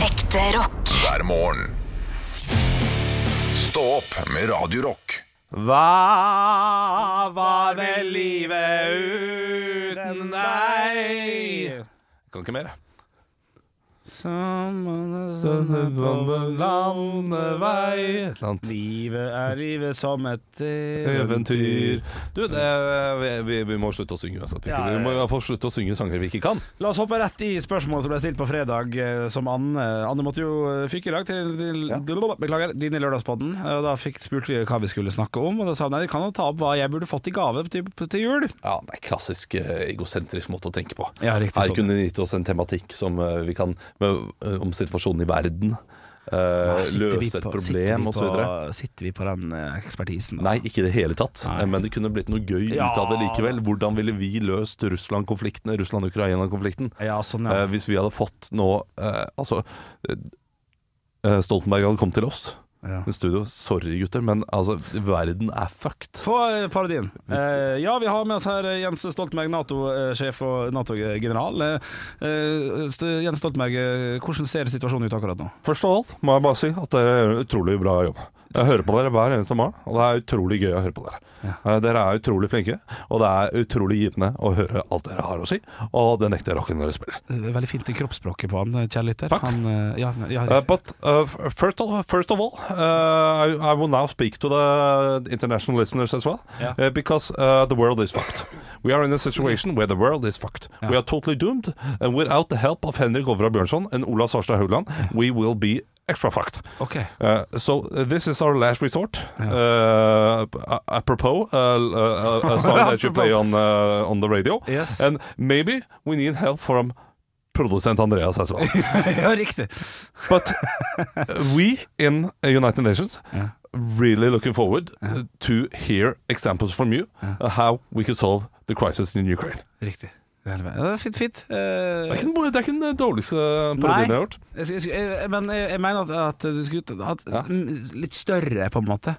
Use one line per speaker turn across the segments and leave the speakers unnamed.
Ekte rock.
hver morgen. Stå opp med Radio Rock.
Hva var vel livet uten deg? Jeg kan ikke mer, jeg. Et eller annet.
Livet er livet som et
Eventyr Du, det, eh, vi- vi, vi må slutte å synge uansett. Vi,
Ja, ja, ja.
vi må få slutte å synge sanger vi ikke kan.
La oss hoppe rett i spørsmål som ble stilt på fredag, eh, som Anne Anne måtte jo eh, fyke i dag til, til Beklager, din i Lørdagspodden. Eh, Og da fikk, spurte vi hva vi skulle snakke om, og da sa hun nei, vi kan jo ta opp hva jeg burde fått i gave til, til jul.
Ja, Det er klassisk eh, egosentrisk måte å tenke på.
Ja, riktig
Her
sånn.
kunne de gitt oss en tematikk som eh, vi kan med, eh, om situasjonen i verden. eh,
Sitter vi
løse et
på-
problem osv.
sitter vi på- Sitter vi på den eh, ekspertisen? da?
Nei, ikke i det hele tatt.
Nei.
Men det kunne blitt noe gøy
Ja.
ut av det likevel. Hvordan ville vi løst Russland-konflikten, Russland-Ukraina-konflikten?
Ja, sånn, ja.
Eh, hvis vi hadde fått nå eh, Altså, eh, Stoltenberg hadde kommet til oss
ja.
i studio. Sorry, gutter, men altså, verden er fucked.
Få eh, parodien. Eh, ja, vi har med oss her eh, Jens Stoltenberg, Nato-sjef og Nato-general. Eh, eh, St- Jens Stoltenberg, eh, hvordan ser situasjonen ut akkurat nå?
Først av alt må jeg bare si at dere gjør en utrolig bra jobb. Jeg hører på dere hver eneste morgen, og det er utrolig gøy å høre på dere. Eh, Dere er utrolig flinke, og det er utrolig givende å høre alt dere har å si, og det nekter jeg rocken dere spiller.
Eh, Veldig fint i kroppsspråket på han, eh, kjære lytter.
Takk.
Han, eh, ja, ja,
Uh,
riktig.
but uh, f- first, of, first of all, uh, I, I will now speak to the international listeners as well,
Yeah.
uh, because uh, the world is fucked. We are in a situation where the world is fucked. We are totally doomed, and without the help of Henrik Ovra Bjørnson and Ola Sarstad Haugland, we will be extra fucked.
Ok.
Uh, so uh, this is our last resort. Uh, a- apropos, uh, l- uh, a- a song that you play on uh, on the radio,
Yes.
and maybe we need help from producent Andreas as well.
ja, riktig.
But we in uh, United Nations
Ja.
really looking forward uh, to hear examples from you uh, how we could solve the crisis in Ukraine.
riktig. Det er veldig- ja, det er fint, fint.
Det er
Eh,
ikke den, det er ikke den uh, dårligste
Nei.
parodien jeg har hørt.
jeg skal- jeg skal- eh, men jeg, jeg mener at, at du skulle hatt
Ja.
mm, litt større, på en måte.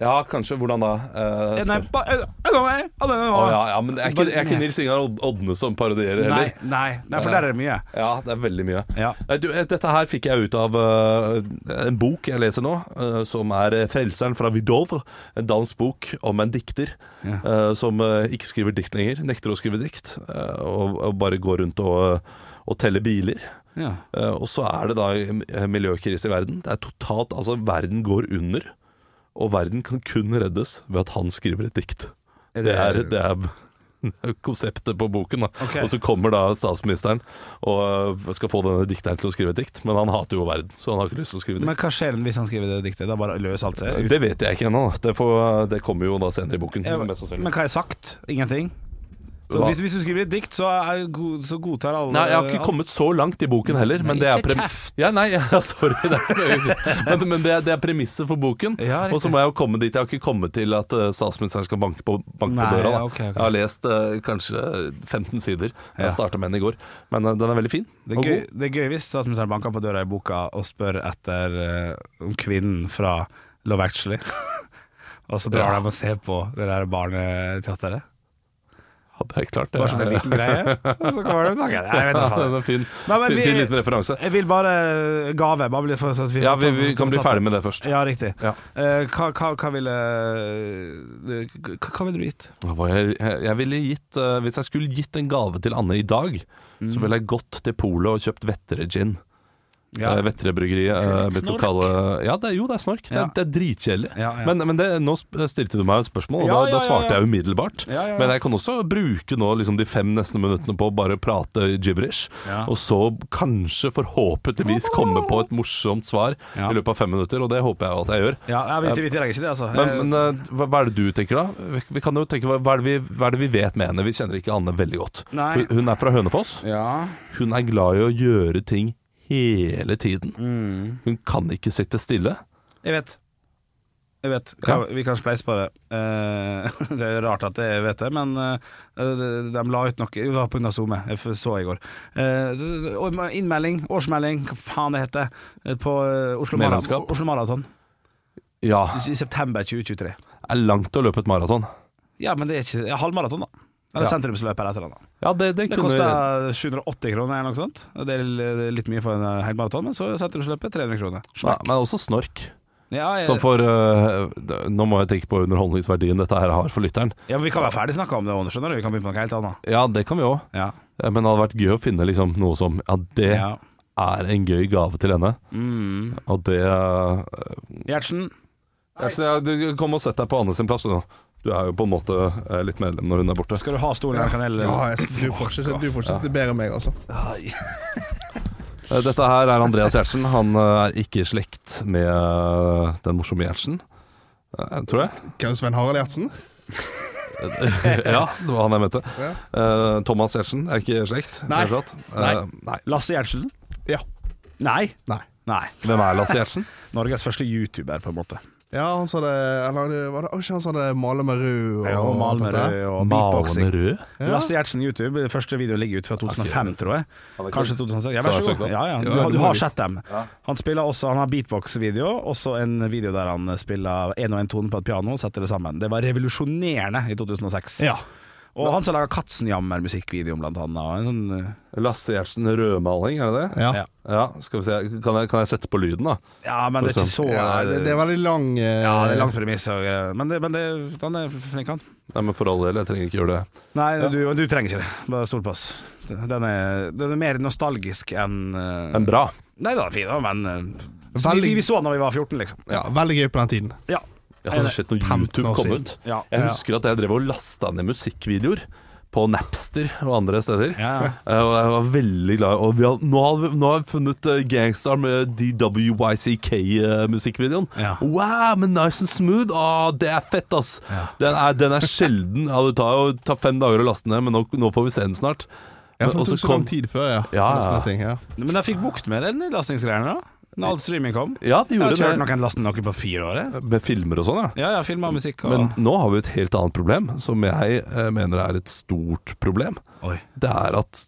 Ja, kanskje. Hvordan da? Eh,
Eh, Nei,
spør.
ba, eh, eh, eh, eh,
Å, ja, ja, men det er ikke, det er ikke Nils Ingar Od- Odne som parodierer
Nei,
heller.
nei, nei, for der er det mye.
Ja, det er veldig mye.
Ja.
Nei, Du, eh, dette her fikk jeg ut av eh, en bok jeg leser nå, eh, som er eh, 'Frelseren fra Vidov'. En dansk bok om en dikter eh, som eh, ikke skriver dikt lenger. Nekter å skrive dikt, eh, og, og bare går rundt og, eh, og teller biler.
Ja.
Eh, Og så er det da eh, miljøkrise i verden. Det er totalt, altså Verden går under, og verden kan kun reddes ved at han skriver et dikt. Det er, det er konseptet på boken. Da.
Ok.
Og så kommer da statsministeren og øh, skal få denne dikteren til å skrive et dikt, men han hater jo verden, så han har ikke lyst til å skrive dikt.
Men hva skjer hvis han skriver det diktet? Da bare løs alt seg ut?
det vet jeg ikke ennå. da. Det, får- det kommer jo da senere i boken.
Men
mest sannsynlig.
hva er sagt? Ingenting? Så
Hva?
hvis, hvis du skriver et dikt, så, er, go- så godtar alle
Nei, jeg har ikke kommet så langt i boken heller. Men
Nei,
det er
ikke
prem-
kjeft.
Ja, nei, ja, sorry. Det er, ikke det jeg sier. men men det, er, det er premisset for boken.
Ja, riktig.
og så må jeg jo komme dit. Jeg har ikke kommet til at eh, statsministeren skal banke på, banke
Nei,
på døra. Da.
ok, ok.
Jeg har lest eh, kanskje 15 sider.
Ja.
Jeg starta med den i går. Men eh, den er veldig fin.
Det er,
og
gøy,
god.
det er gøy hvis statsministeren banker på døra i boka og spør etter eh, om kvinnen fra Love Actually. og så drar
Ja.
de og ser på det der barneteateret.
Hadde jeg klart det.
Bare som en liten greie. Og så kommer de og snakker. Nei, jeg vet
Ja,
da faen.
den er fin.
Nei, men
fin,
vi-
fin liten referanse.
Jeg vil bare eh, gave. Bare bli for, så at vi,
Ja,
får
vi,
tatt-
vi kan bli
får tatt-
ferdig med det først.
Ja, riktig.
Ja.
Eh, hva, hva, hva ville eh, hva, hva ville du gitt?
Hva Jeg, jeg ville gitt, eh, hvis jeg skulle gitt en gave til Anne i dag,
Mm.
så ville jeg gått til polet og kjøpt Vettere gin. Ja. Vetterebryggeriet eh, blitt
Snork.
lokale Ja, det, er- jo, det er snork.
Ja.
Det, er- det er dritkjedelig.
Ja, ja.
Men, men det, nå sp- stilte du meg et spørsmål, og
Ja,
da,
ja,
da
ja,
svarte
ja.
jeg umiddelbart.
Ja, ja, ja.
Men jeg kan også bruke nå liksom, de fem neste minuttene på å bare prate gibberish,
Ja.
og så kanskje, forhåpentligvis, komme på et morsomt svar
Ja.
i løpet av fem minutter, og det håper jeg at jeg gjør.
Ja, ja, vi, vi tillegger ikke det, altså.
Men, men eh, hva, hva er det du tenker, da? Vi, vi kan jo tenke, hva, hva, er det vi, hva er det vi vet med henne? Vi kjenner ikke Anne veldig godt.
Nei.
Hun, hun er fra Hønefoss.
ja.
Hun er glad i å gjøre ting hele tiden.
Mm.
Hun kan ikke sitte stille.
Jeg vet. Jeg vet. Kan, Vi kan spleise på det. Eh, det er rart at jeg vet det, men eh, de, de la ut noe Det var pga. SoMe, jeg f- så i går. Eh, og innmelding, årsmelding, hva faen det heter, eh, på eh, Oslo, Mara-
Medlemskap.
Oslo Maraton
Ja,
i september 2023.
er langt å løpe et maraton.
Ja, men det er ikke det er halvmaraton, da. Eller sentrumsløp eller et eller annet.
Ja, det, det
Det
kunne
koster 780 kroner eller noe sånt. Det er l- litt mye for en eh, hel maraton, men så er sentrumsløpet 300 kroner.
Nei, Men også snork.
Ja, jeg,
Som for øh, d- Nå må jeg tenke på underholdningsverdien dette her har for lytteren.
ja, men vi kan være ferdig snakka om det, Anders, skjønner du. Vi kan begynne på noe helt annet.
Ja, det kan vi òg.
Ja.
Men det hadde vært gøy å finne liksom noe som Ja, det
ja.
er en gøy gave til henne.
Mm.
Og det øh,
Gjertsen,
Jeg synes jeg- du, Kom og sett deg på Anne sin plass, du nå. Du er jo på en måte eh, litt medlem når hun er borte.
skal du ha stolen
Ja,
eller kanel?
ja, jeg, du får ikke, du får ikke sitte bedre enn meg, altså.
Eh, Dette her er Andreas Gjertsen. Han eh, er ikke i slekt med eh, den morsomme Gjertsen. Eh, Tror jeg.
Hvem Sven Harald Gjertsen?
ja, det var han jeg mente.
Ah, Ja.
Eh, Thomas Gjertsen er ikke i slekt.
Nei.
rett og slett. Eh,
Nei.
nei.
Lasse Gjertsen?
Ja.
Nei.
Nei.
Nei.
Hvem er Lasse Gjertsen?
Norges første youtuber, på en måte.
Ja, han sa det Eller det- var det var ikke han sa det Male med rød og
Og
alt dette her?
Malmerød og beatboxing.
Malene Rød?
Ja.
Lasse Gjertsen YouTube, første video ligger ut fra 2005, tror jeg. Kanskje 2006. Ja, vær så
Så er det
god.
søkt, da.
Ja, ja. Du,
Ja,
har-
det
du
må
har
vi.
sett dem. Han spiller også Han har beatbox-video, og så en video der han spiller én og én tone på et piano og setter det sammen. Det var revolusjonerende i 2006.
Ja.
Og han som laga Katzenjammer-musikkvideoen, blant annet. og En sånn,
Lasse Gjertsen rødmaling, er det det?
Ja.
ja.
Ja, skal vi se. Kan jeg, kan jeg sette på lyden, da?
ja, men det er ikke så
Ja, det, det er veldig lang eh,
Ja, det er lang premiss, og, eh, men, det, men det, han er flink, han.
Nei, men For all del, jeg trenger ikke gjøre det.
Nei, du, du trenger ikke det. Bare stol på oss. Den er, den er mer nostalgisk enn eh,
Men bra.
Nei da, fin, da, men eh, så
Veldig-
vi, vi så den da vi var 14, liksom.
ja, Veldig gøy på den tiden.
Ja.
Jeg har sett når
15
YouTube
år
kom
siden.
ut.
Ja.
Jeg husker at jeg drev og lasta ned musikkvideoer på Napster og andre steder.
Ja.
Eh, Og jeg var veldig glad og vi har, nå, har vi, nå har vi funnet eh, Gangstar med DWYCK-musikkvideoen.
Ja.
eh, Wow, men nice and smooth! Å, det er fett, ass! Den, er, den er sjelden. Ja, det tar jo tar fem dager å laste ned, men nå, nå får vi se den snart.
Ja, for
Og
det tok
så
så lang
kom-
tid før, ja.
Ja,
Nesten
ja.
en Ting, ja.
Men jeg fikk bukt med den nedlastingsgreiene da. Når all streaming kom.
Ja, de
Jeg har
gjorde
ikke hørt
det.
noen laste noe på fire år. jeg.
Med filmer og sånn, ja.
Ja, jeg har filma musikk og
Men nå har vi et helt annet problem, som jeg eh, mener er et stort problem.
Oi.
Det er at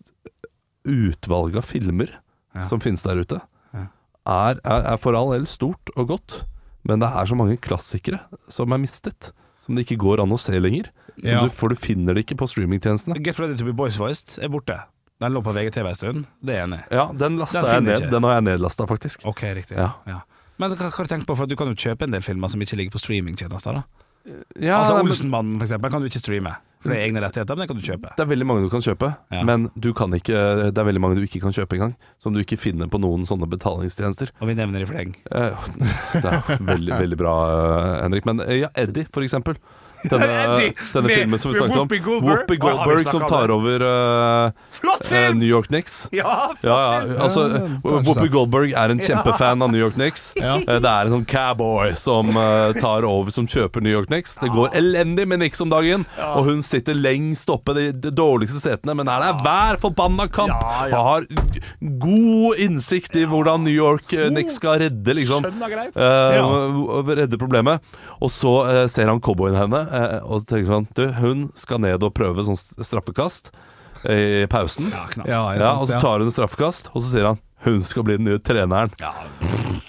utvalget av filmer
Ja.
som finnes der ute,
Ja.
er, er, er for all del stort og godt, men det er så mange klassikere som er mistet. Som det ikke går an å se lenger. Som
Ja.
Du, for du finner det ikke på streamingtjenestene.
Get Ready To Be Boys Voiced er borte. Den lå på VGTV en stund. Det er jeg enig i.
Ja, den lasta
Den
jeg
finner
ned.
ikke.
Den har jeg nedlasta, faktisk.
Ok, riktig.
Ja.
Ja. Men hva hva har du tenkt på? For Du kan jo kjøpe en del filmer som ikke ligger på streamingtjenester. da
Ja,
Alt av
men-
Olsenmannen Altså, for eksempel, kan du ikke streame. For Det er egne rettigheter, men det kan du kjøpe.
det er veldig mange du kan kjøpe,
Ja.
men du kan ikke, det er veldig mange du ikke kan kjøpe engang. Som du ikke finner på noen sånne betalingstjenester.
Og vi nevner i fleng.
Eh, Det er veldig, veldig bra, eh, Henrik. Men eh, ja, Eddie, for eksempel. Denne,
Eddie,
denne
med-
filmen som vi
med
snakket om.
Whoopi Goldberg.
Whoopi
Å, har vi
Goldberg
snakket
som
om
tar
det?
over eh,
Flott
eh, New York Knicks.
Ja!
Ja, ja, altså,
Ja, den- den-
Whoopi Goldberg er en kjempefan av New York Knicks.
Ja.
Eh, Det er en sånn cowboy som eh, tar over, som kjøper New York Knicks. Det
Ah.
går elendig med Knicks om dagen, og hun sitter lengst oppe i de dårligste setene, men her er hver forbanna kamp!
Ja,
Og
ja.
har god innsikt i hvordan New York
Oh.
eh, Knicks skal redde, liksom.
Skjønner greit.
Eh,
Ja.
og Redde problemet. Og så eh, ser han cowboyen henne eh, og tenker sånn Du, hun skal ned og prøve sånn straffekast eh, i pausen.
Ja, knapt.
Ja, jeg
Ja,
synes
og så
det,
tar hun straffekast, og så sier han hun skal bli den nye treneren.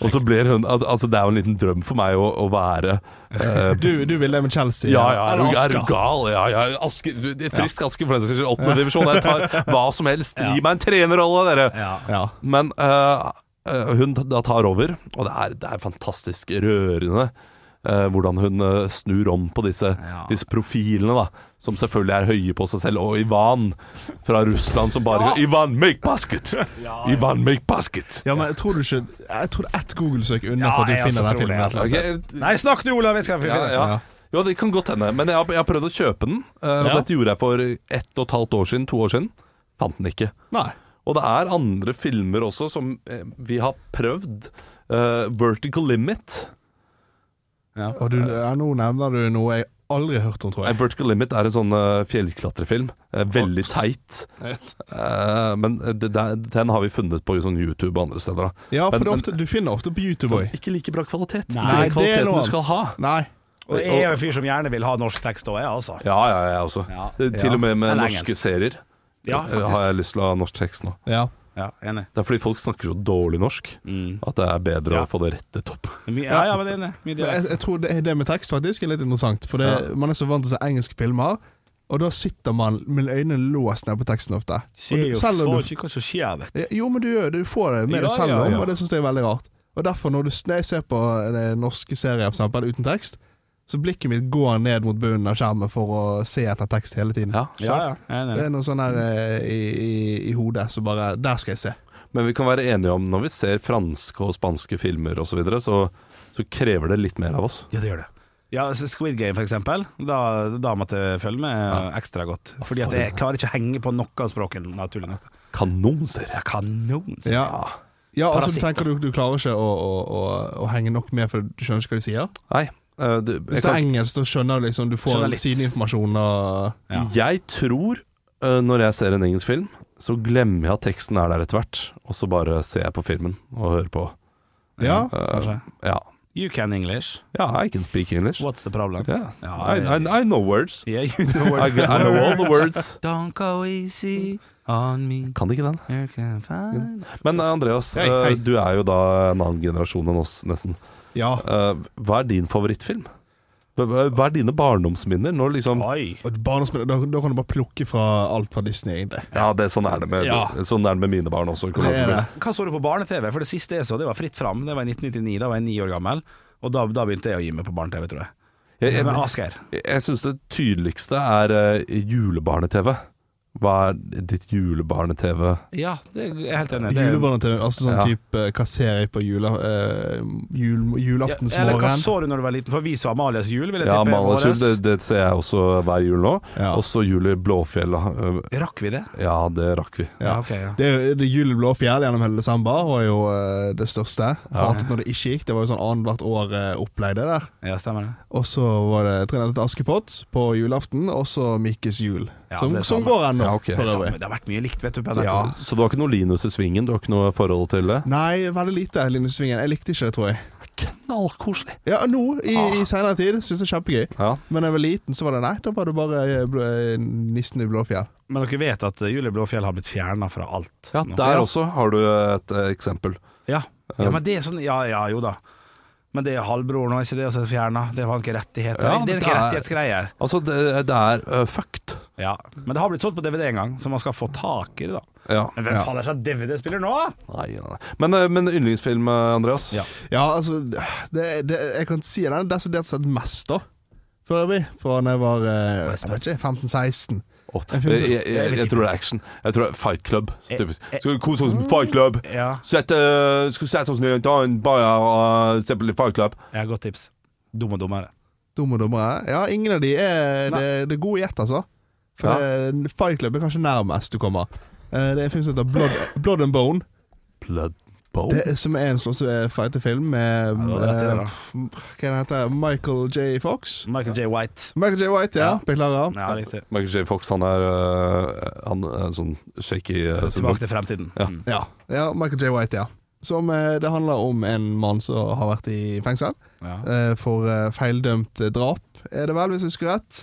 Og så blir hun al- Altså, det er jo en liten drøm for meg å, å være eh,
Du, du ville det med Chelsea?
ja, ja, er
eller
du, er du
Asker.
gal? Ja, ja, Aske, du, det er frisk Aske, for den saks skyld. Åttende divisjon. Jeg tar hva som helst. Gi meg en trenerrolle, dere!
Ja.
Ja.
Men eh, eh, hun t- da tar over, og det er, det er fantastisk rørende eh, hvordan hun eh, snur om på disse,
Ja.
disse profilene, da. Som selvfølgelig er høye på seg selv. Og Ivan fra Russland som bare Ivan, make basket! Ivan, make basket!
ja, men tror du ikke Jeg tror det er ett Google-søk unna
Ja,
for at du
jeg også
finner den
tror
filmen.
det, altså.
et eller annet sted.
Nei, snakk du, Olav! Jeg skal finne
Ja,
den.
ja. Jo, det kan godt hende. Men jeg har, jeg har prøvd å kjøpe den. eh, og
Ja.
Dette gjorde jeg for ett og et halvt år siden. To år siden. Fant den ikke.
Nei.
Og det er andre filmer også som eh, vi har prøvd. Eh, 'Vertical Limit'.
Og du, ja, nå nevner du noe jeg aldri har hørt om, tror
Eh,
jeg.
'Vertical Limit' er en sånn eh, fjellklatrefilm. Eh, veldig teit. Eh, men det, det, den har vi funnet på sånn YouTube og andre steder. Da.
Ja, for
Men-
det er ofte, du finner ofte på YouTube òg.
Ikke like bra kvalitet.
Nei,
ikke den kvaliteten du skal ha.
Nei.
Og jeg er jo en fyr som gjerne vil ha norsk tekst òg, jeg, altså.
Ja, ja, jeg også.
Ja.
Eh, Til og med med
Eller
norske
engelsk.
serier
Ja,
eh,
faktisk.
har jeg lyst til å ha norsk tekst nå.
Ja.
Ja, enig.
Det er fordi folk snakker så dårlig norsk
Mm.
at det er bedre
Ja.
å få det rettet opp.
Ja, ja, men det er enig. Mye
Men jeg,
dialekt.
jeg tror det, det med tekst faktisk er litt interessant, for det, man er så vant til å se engelske filmer. Og da sitter man med øynene låst ned på teksten ofte. Og
Ser
du-
jo
selv om
faen
du
ikke hva som skjer, vet du.
Ja, Jo, men du, gjør det, du får det med
Ja,
deg selv
ja,
om,
ja.
og det syns jeg er veldig rart. Og derfor, når, du, når jeg ser på eh, norske serier for eksempel, uten tekst, så blikket mitt går ned mot bunnen av skjermen for å se etter tekst hele tiden.
Ja.
Ja, ja. Jeg er enig i
Det
det.
er noe sånn der eh, i, i, i hodet som bare Der skal jeg se.
Men vi kan være enige om når vi ser franske og spanske filmer osv., så, videre, så så krever det litt mer av oss.
Ja, det gjør det. Ja, så Squid Game, for eksempel. Da, da måtte jeg følge med ekstra godt. Fordi at jeg klarer ikke å henge på noe av språket, naturlig nok.
Kanonserie.
Ja, kanon! sier jeg.
Ja, ja altså du
Parasitter.
tenker du, du klarer ikke å, å, å, å henge nok med, for du skjønner ikke hva de sier.
Nei. eh, du, jeg,
Hvis det er
kan,
engelsk, så skjønner du liksom Du får
Skjønner litt.
sideinformasjon og
Ja.
jeg tror eh, når jeg ser en engelsk film, så glemmer jeg at teksten er der etter hvert, og så bare ser jeg på filmen og hører på.
Ja.
Eh,
Kanskje.
ja.
You can English.
ja, I can speak English.
What's the problem?
Yeah.
Ja, eh,
I, I, I know words.
Yeah, you know
I, I know all the words.
Don't go easy on me.
Kan ikke den.
You can find
Men eh, Andreas,
Hei,
eh,
hei.
du er jo da en annen generasjon enn oss, nesten.
Ja.
Eh, Hva er din favorittfilm? Hva- Hva hva er dine barndomsminner? Når liksom
Oi.
Og barndomsminner, da, da kan du bare plukke fra alt fra Disney, egentlig.
Ja, det, sånn, er det med,
Ja.
sånn er det med mine barn også.
Det er det.
Hva så du på barne-TV? For det siste jeg så, det var Fritt fram. Det var i 1999. Da var jeg ni år gammel. Og da, da begynte jeg å gi meg på barne-TV, tror jeg.
Jeg,
Men
jeg,
Asgeir.
jeg syns det tydeligste er eh, julebarne-TV. Hva er ditt julebarne-TV?
Ja, det jeg er helt enig. Det er-
Julebarne-TV, altså sånn
Ja.
type eh, Hva ser jeg på jula, eh, jul,
Ja, eller hva
julaftensmorgen?
så du når du var liten? For vi så Amalias jul, vil jeg
Ja,
tippe.
Malas jul,
våres.
det, det ser jeg også hver jul nå.
Ja.
Også jul i Blåfjella. Eh,
Rakk vi det?
Ja, det rakk vi.
Ja.
ok, ja.
Det, er jo- det Juleblå fjell gjennom hele desember var jo eh, det største. Hatet når det ikke gikk. Det var jo sånn annethvert år eh, opplegg, det der.
Ja, stemmer det.
Og så var det 'Tre nøtter til Askepott' på julaften, og så Mikkes jul.
Ja,
som,
det er
som
samme.
går ennå,
Ja, ok.
for
Samme,
øvrig.
det har vært mye likt, vet du. på
Ja.
NRK.
Så du har ikke noe Linus i svingen? Du har ikke noe forhold til det?
Nei, veldig lite Lindesvingen. Jeg likte ikke det, tror jeg.
Knallkoselig.
Ja, nå, i,
Ah.
i senere tid, syns jeg er kjempegøy.
Ja.
Men da jeg var liten, så var det nei. Da var det bare eh, blå- nissen i Blåfjell.
Men dere vet at eh, Julie Blåfjell har blitt fjerna fra alt.
ja,
nå.
der også har du et eh, eksempel.
Ja. ja, men det er sånn Ja, ja, jo da. Men det er halvbroren og ikke det, og så er det fjerna. Det var ikke rettigheter.
Ja,
det er ikke
men det er-
rettighetsgreier.
Altså, det, det er eh, fucked.
Ja. Men det har blitt solgt på DVD en gang, så man skal få tak i det, da.
Ja.
Men hvem
Ja.
faen er det som DVD-spiller nå?
Nei, nei, nei. Men, eh, men yndlingsfilm, eh, Andreas?
Ja.
Ja, altså det, det, Jeg kan si den er desidert sett mest, da. For øvrig. Fra da jeg var eh, jeg vet ikke, 15-16.
Åh,
En film
jeg,
som-
jeg, jeg, jeg tror det er action. Jeg tror det er Fight Club. Typisk. Skal vi kose oss med Fight Club?
Ja,
Sette, skal vi eh, sette oss ned, ta en bayer og eh, se på litt Fight Club?
jeg har godt tips. Dum og dummere.
Dumme dommere. Ja, ingen av de er
Nei.
det, det er gode gjett, altså. For det, Fight Club er kanskje nærmest du kommer. Eh, Det er en film som heter Blood, Blood and Bone,
Blood Bowl?
det, er- som er en slåssefighterfilm med
Ja, det var rett i det, da.
eh, f- Hva den heter Michael J. Fox?
Michael J. White.
Michael J. White, ja.
Ja.
Beklager.
Ja, riktig.
Michael J. Fox, han er øh, Han er sånn shaky øh, syndrom.
Tilbake til fremtiden.
Ja.
Mm.
Ja. ja, Michael J. White, ja. Som eh, Det handler om en mann som har vært i fengsel.
Ja.
eh, for eh, feildømt eh, drap, er det vel, hvis jeg husker rett.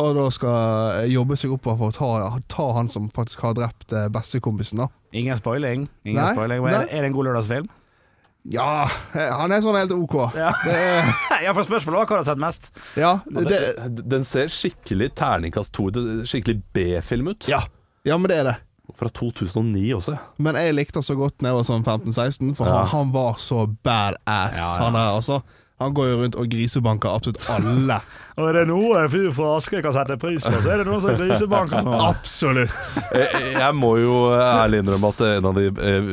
Og da skal eh, jobbe seg oppover for å ta, ta han som faktisk har drept eh, bestekompisen, da.
Ingen spoiling. Ingen
Nei,
spoiling. Er,
nei.
er det en god lørdagsfilm?
Ja, eh, han er sånn helt OK.
Ja.
Det er,
ja, for spørsmålet var hva du har sett mest.
ja, det,
Den ser skikkelig terningkast 2, det- skikkelig B-film ut.
ja. ja, men det er det.
Fra 2009 også.
Men jeg likte han så godt da jeg var sånn 15-16, for han, han var så badass,
Ja, ja.
han der, altså. Han går jo rundt og grisebanker absolutt alle.
Og er det noe en fyr fra Askøy kan sette pris på, så er det noen som grisebanker nå.
absolutt!
Jeg, jeg må jo ærlig innrømme at en av de eh,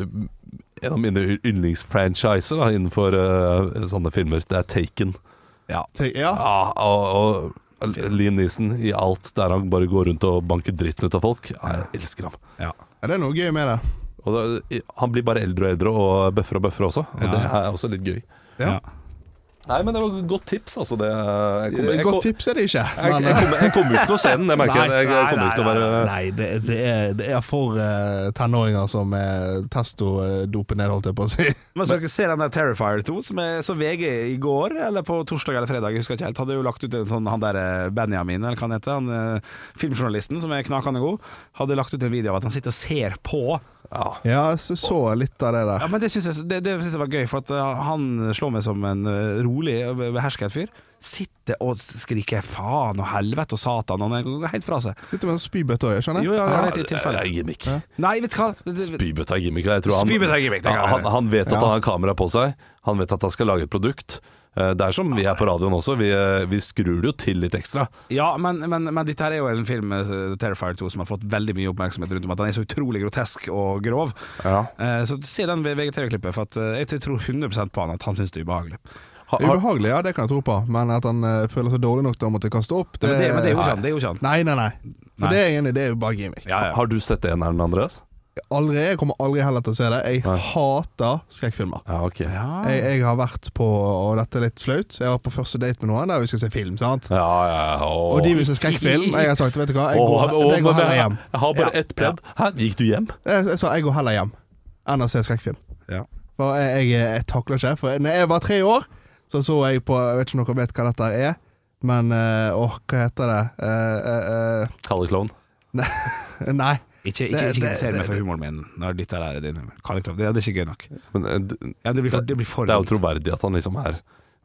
En av mine yndlingsfranchiser da, innenfor eh, sånne filmer, det er Taken.
Ja.
Tenk, ja.
Ja, Ah, og, og Liam Neeson i alt der han bare går rundt og banker dritten ut av folk. Ja, jeg elsker ham.
ja.
ja, det er noe gøy med det.
Og da, han blir bare eldre og eldre og bøffer og bøffer også. Og
Ja.
Det er også litt gøy.
Ja.
Nei, men det var et godt tips, altså. Det, jeg kommer- jeg kom-
Eh, Godt tips er det ikke.
Jeg jeg kommer jeg kommer jo ikke til å se den, jeg merker
Nei,
det. Jeg, jeg
nei,
kommer ikke til å
nei,
være
Nei, det, det, er, det er for eh, tenåringer som er testo-dopen ned, holdt jeg på å si.
Men skal dere se den der Terrifier 2, som jeg så VG i går, eller på torsdag eller fredag, jeg husker ikke helt, hadde jo lagt ut en sånn, han der eh, Benjamin, eller hva han heter, han eh, filmjournalisten som er knakende god, hadde lagt ut en video av at han sitter og ser på
Ja, jeg så- så litt av det
Ja,
der.
men det syns eh, jeg, det, det synes jeg var gøy, for at uh, han slår meg som en uh, rolig, uh, eh, behersket fyr. Sitter
sitter og skriker faen og helvete og satan. Han er- går helt fra seg.
Sitter med en spybøtte òg, skjønner
Jo,
jeg.
ja, det er
det
et tilfelle.
er gimmick.
Nei, vet du hva Det-
Spybøtte er gimmick. og Jeg tror han,
Spybøtte er gimmick, det kan
han,
jeg
han,
være.
han vet at
Ja.
han har kamera på seg. Han vet at han skal lage et produkt. Eh, Det er som vi er på radioen også. Vi, eh, vi skrur det jo til litt ekstra.
Ja, men, men, men dette her er jo en film, eh, The Terrifier 2, som har fått veldig mye oppmerksomhet rundt om at den er så utrolig grotesk og grov. Eh, Så se den VGTV-klippet, for at eh, jeg tror 100 på han at han syns det er ubehagelig.
Har, har,
Ubehagelig, ja, det kan jeg tro på, men at han eh, føler seg dårlig nok til å måtte kaste opp
Men det, men det er jo ikke han. Det er jo ikke han.
Nei, nei, nei. For
Nei.
det er egentlig det er jo bare gimmick.
Ja, ja.
har du sett eneren, Andreas?
Aldri, Jeg kommer aldri heller til å se det. Jeg hater skrekkfilmer.
Ja, ok. Ja,
Jeg, jeg har vært på, og dette er litt flaut, jeg var på første date med noen der vi skal se film. sant?
ja, ja.
Og de vil se skrekkfilm. og Jeg har sagt vet du hva, jeg
Åh,
går,
åh,
jeg går
men
heller
jeg,
hjem.
jeg har bare
Ja.
ett pledd. Hæ, gikk du hjem?
Jeg, Eh, jeg sa jeg går heller hjem enn å se skrekkfilm.
Ja.
For jeg, jeg, jeg takler ikke. For når jeg var tre år, så så jeg på Jeg vet ikke om dere vet hva dette er, men eh, åh, hva heter det? Eh, eh, eh,
Kalle klovn.
nei.
Ikke,
Det-
ikke, ikke
det-
kritiser meg
det-
for humoren min når dette her er din. Kalle Klav, det, det er ikke gøy nok.
Men eh, det,
Ja, det blir for, det blir for
det er jo
dumt.
troverdig at han liksom er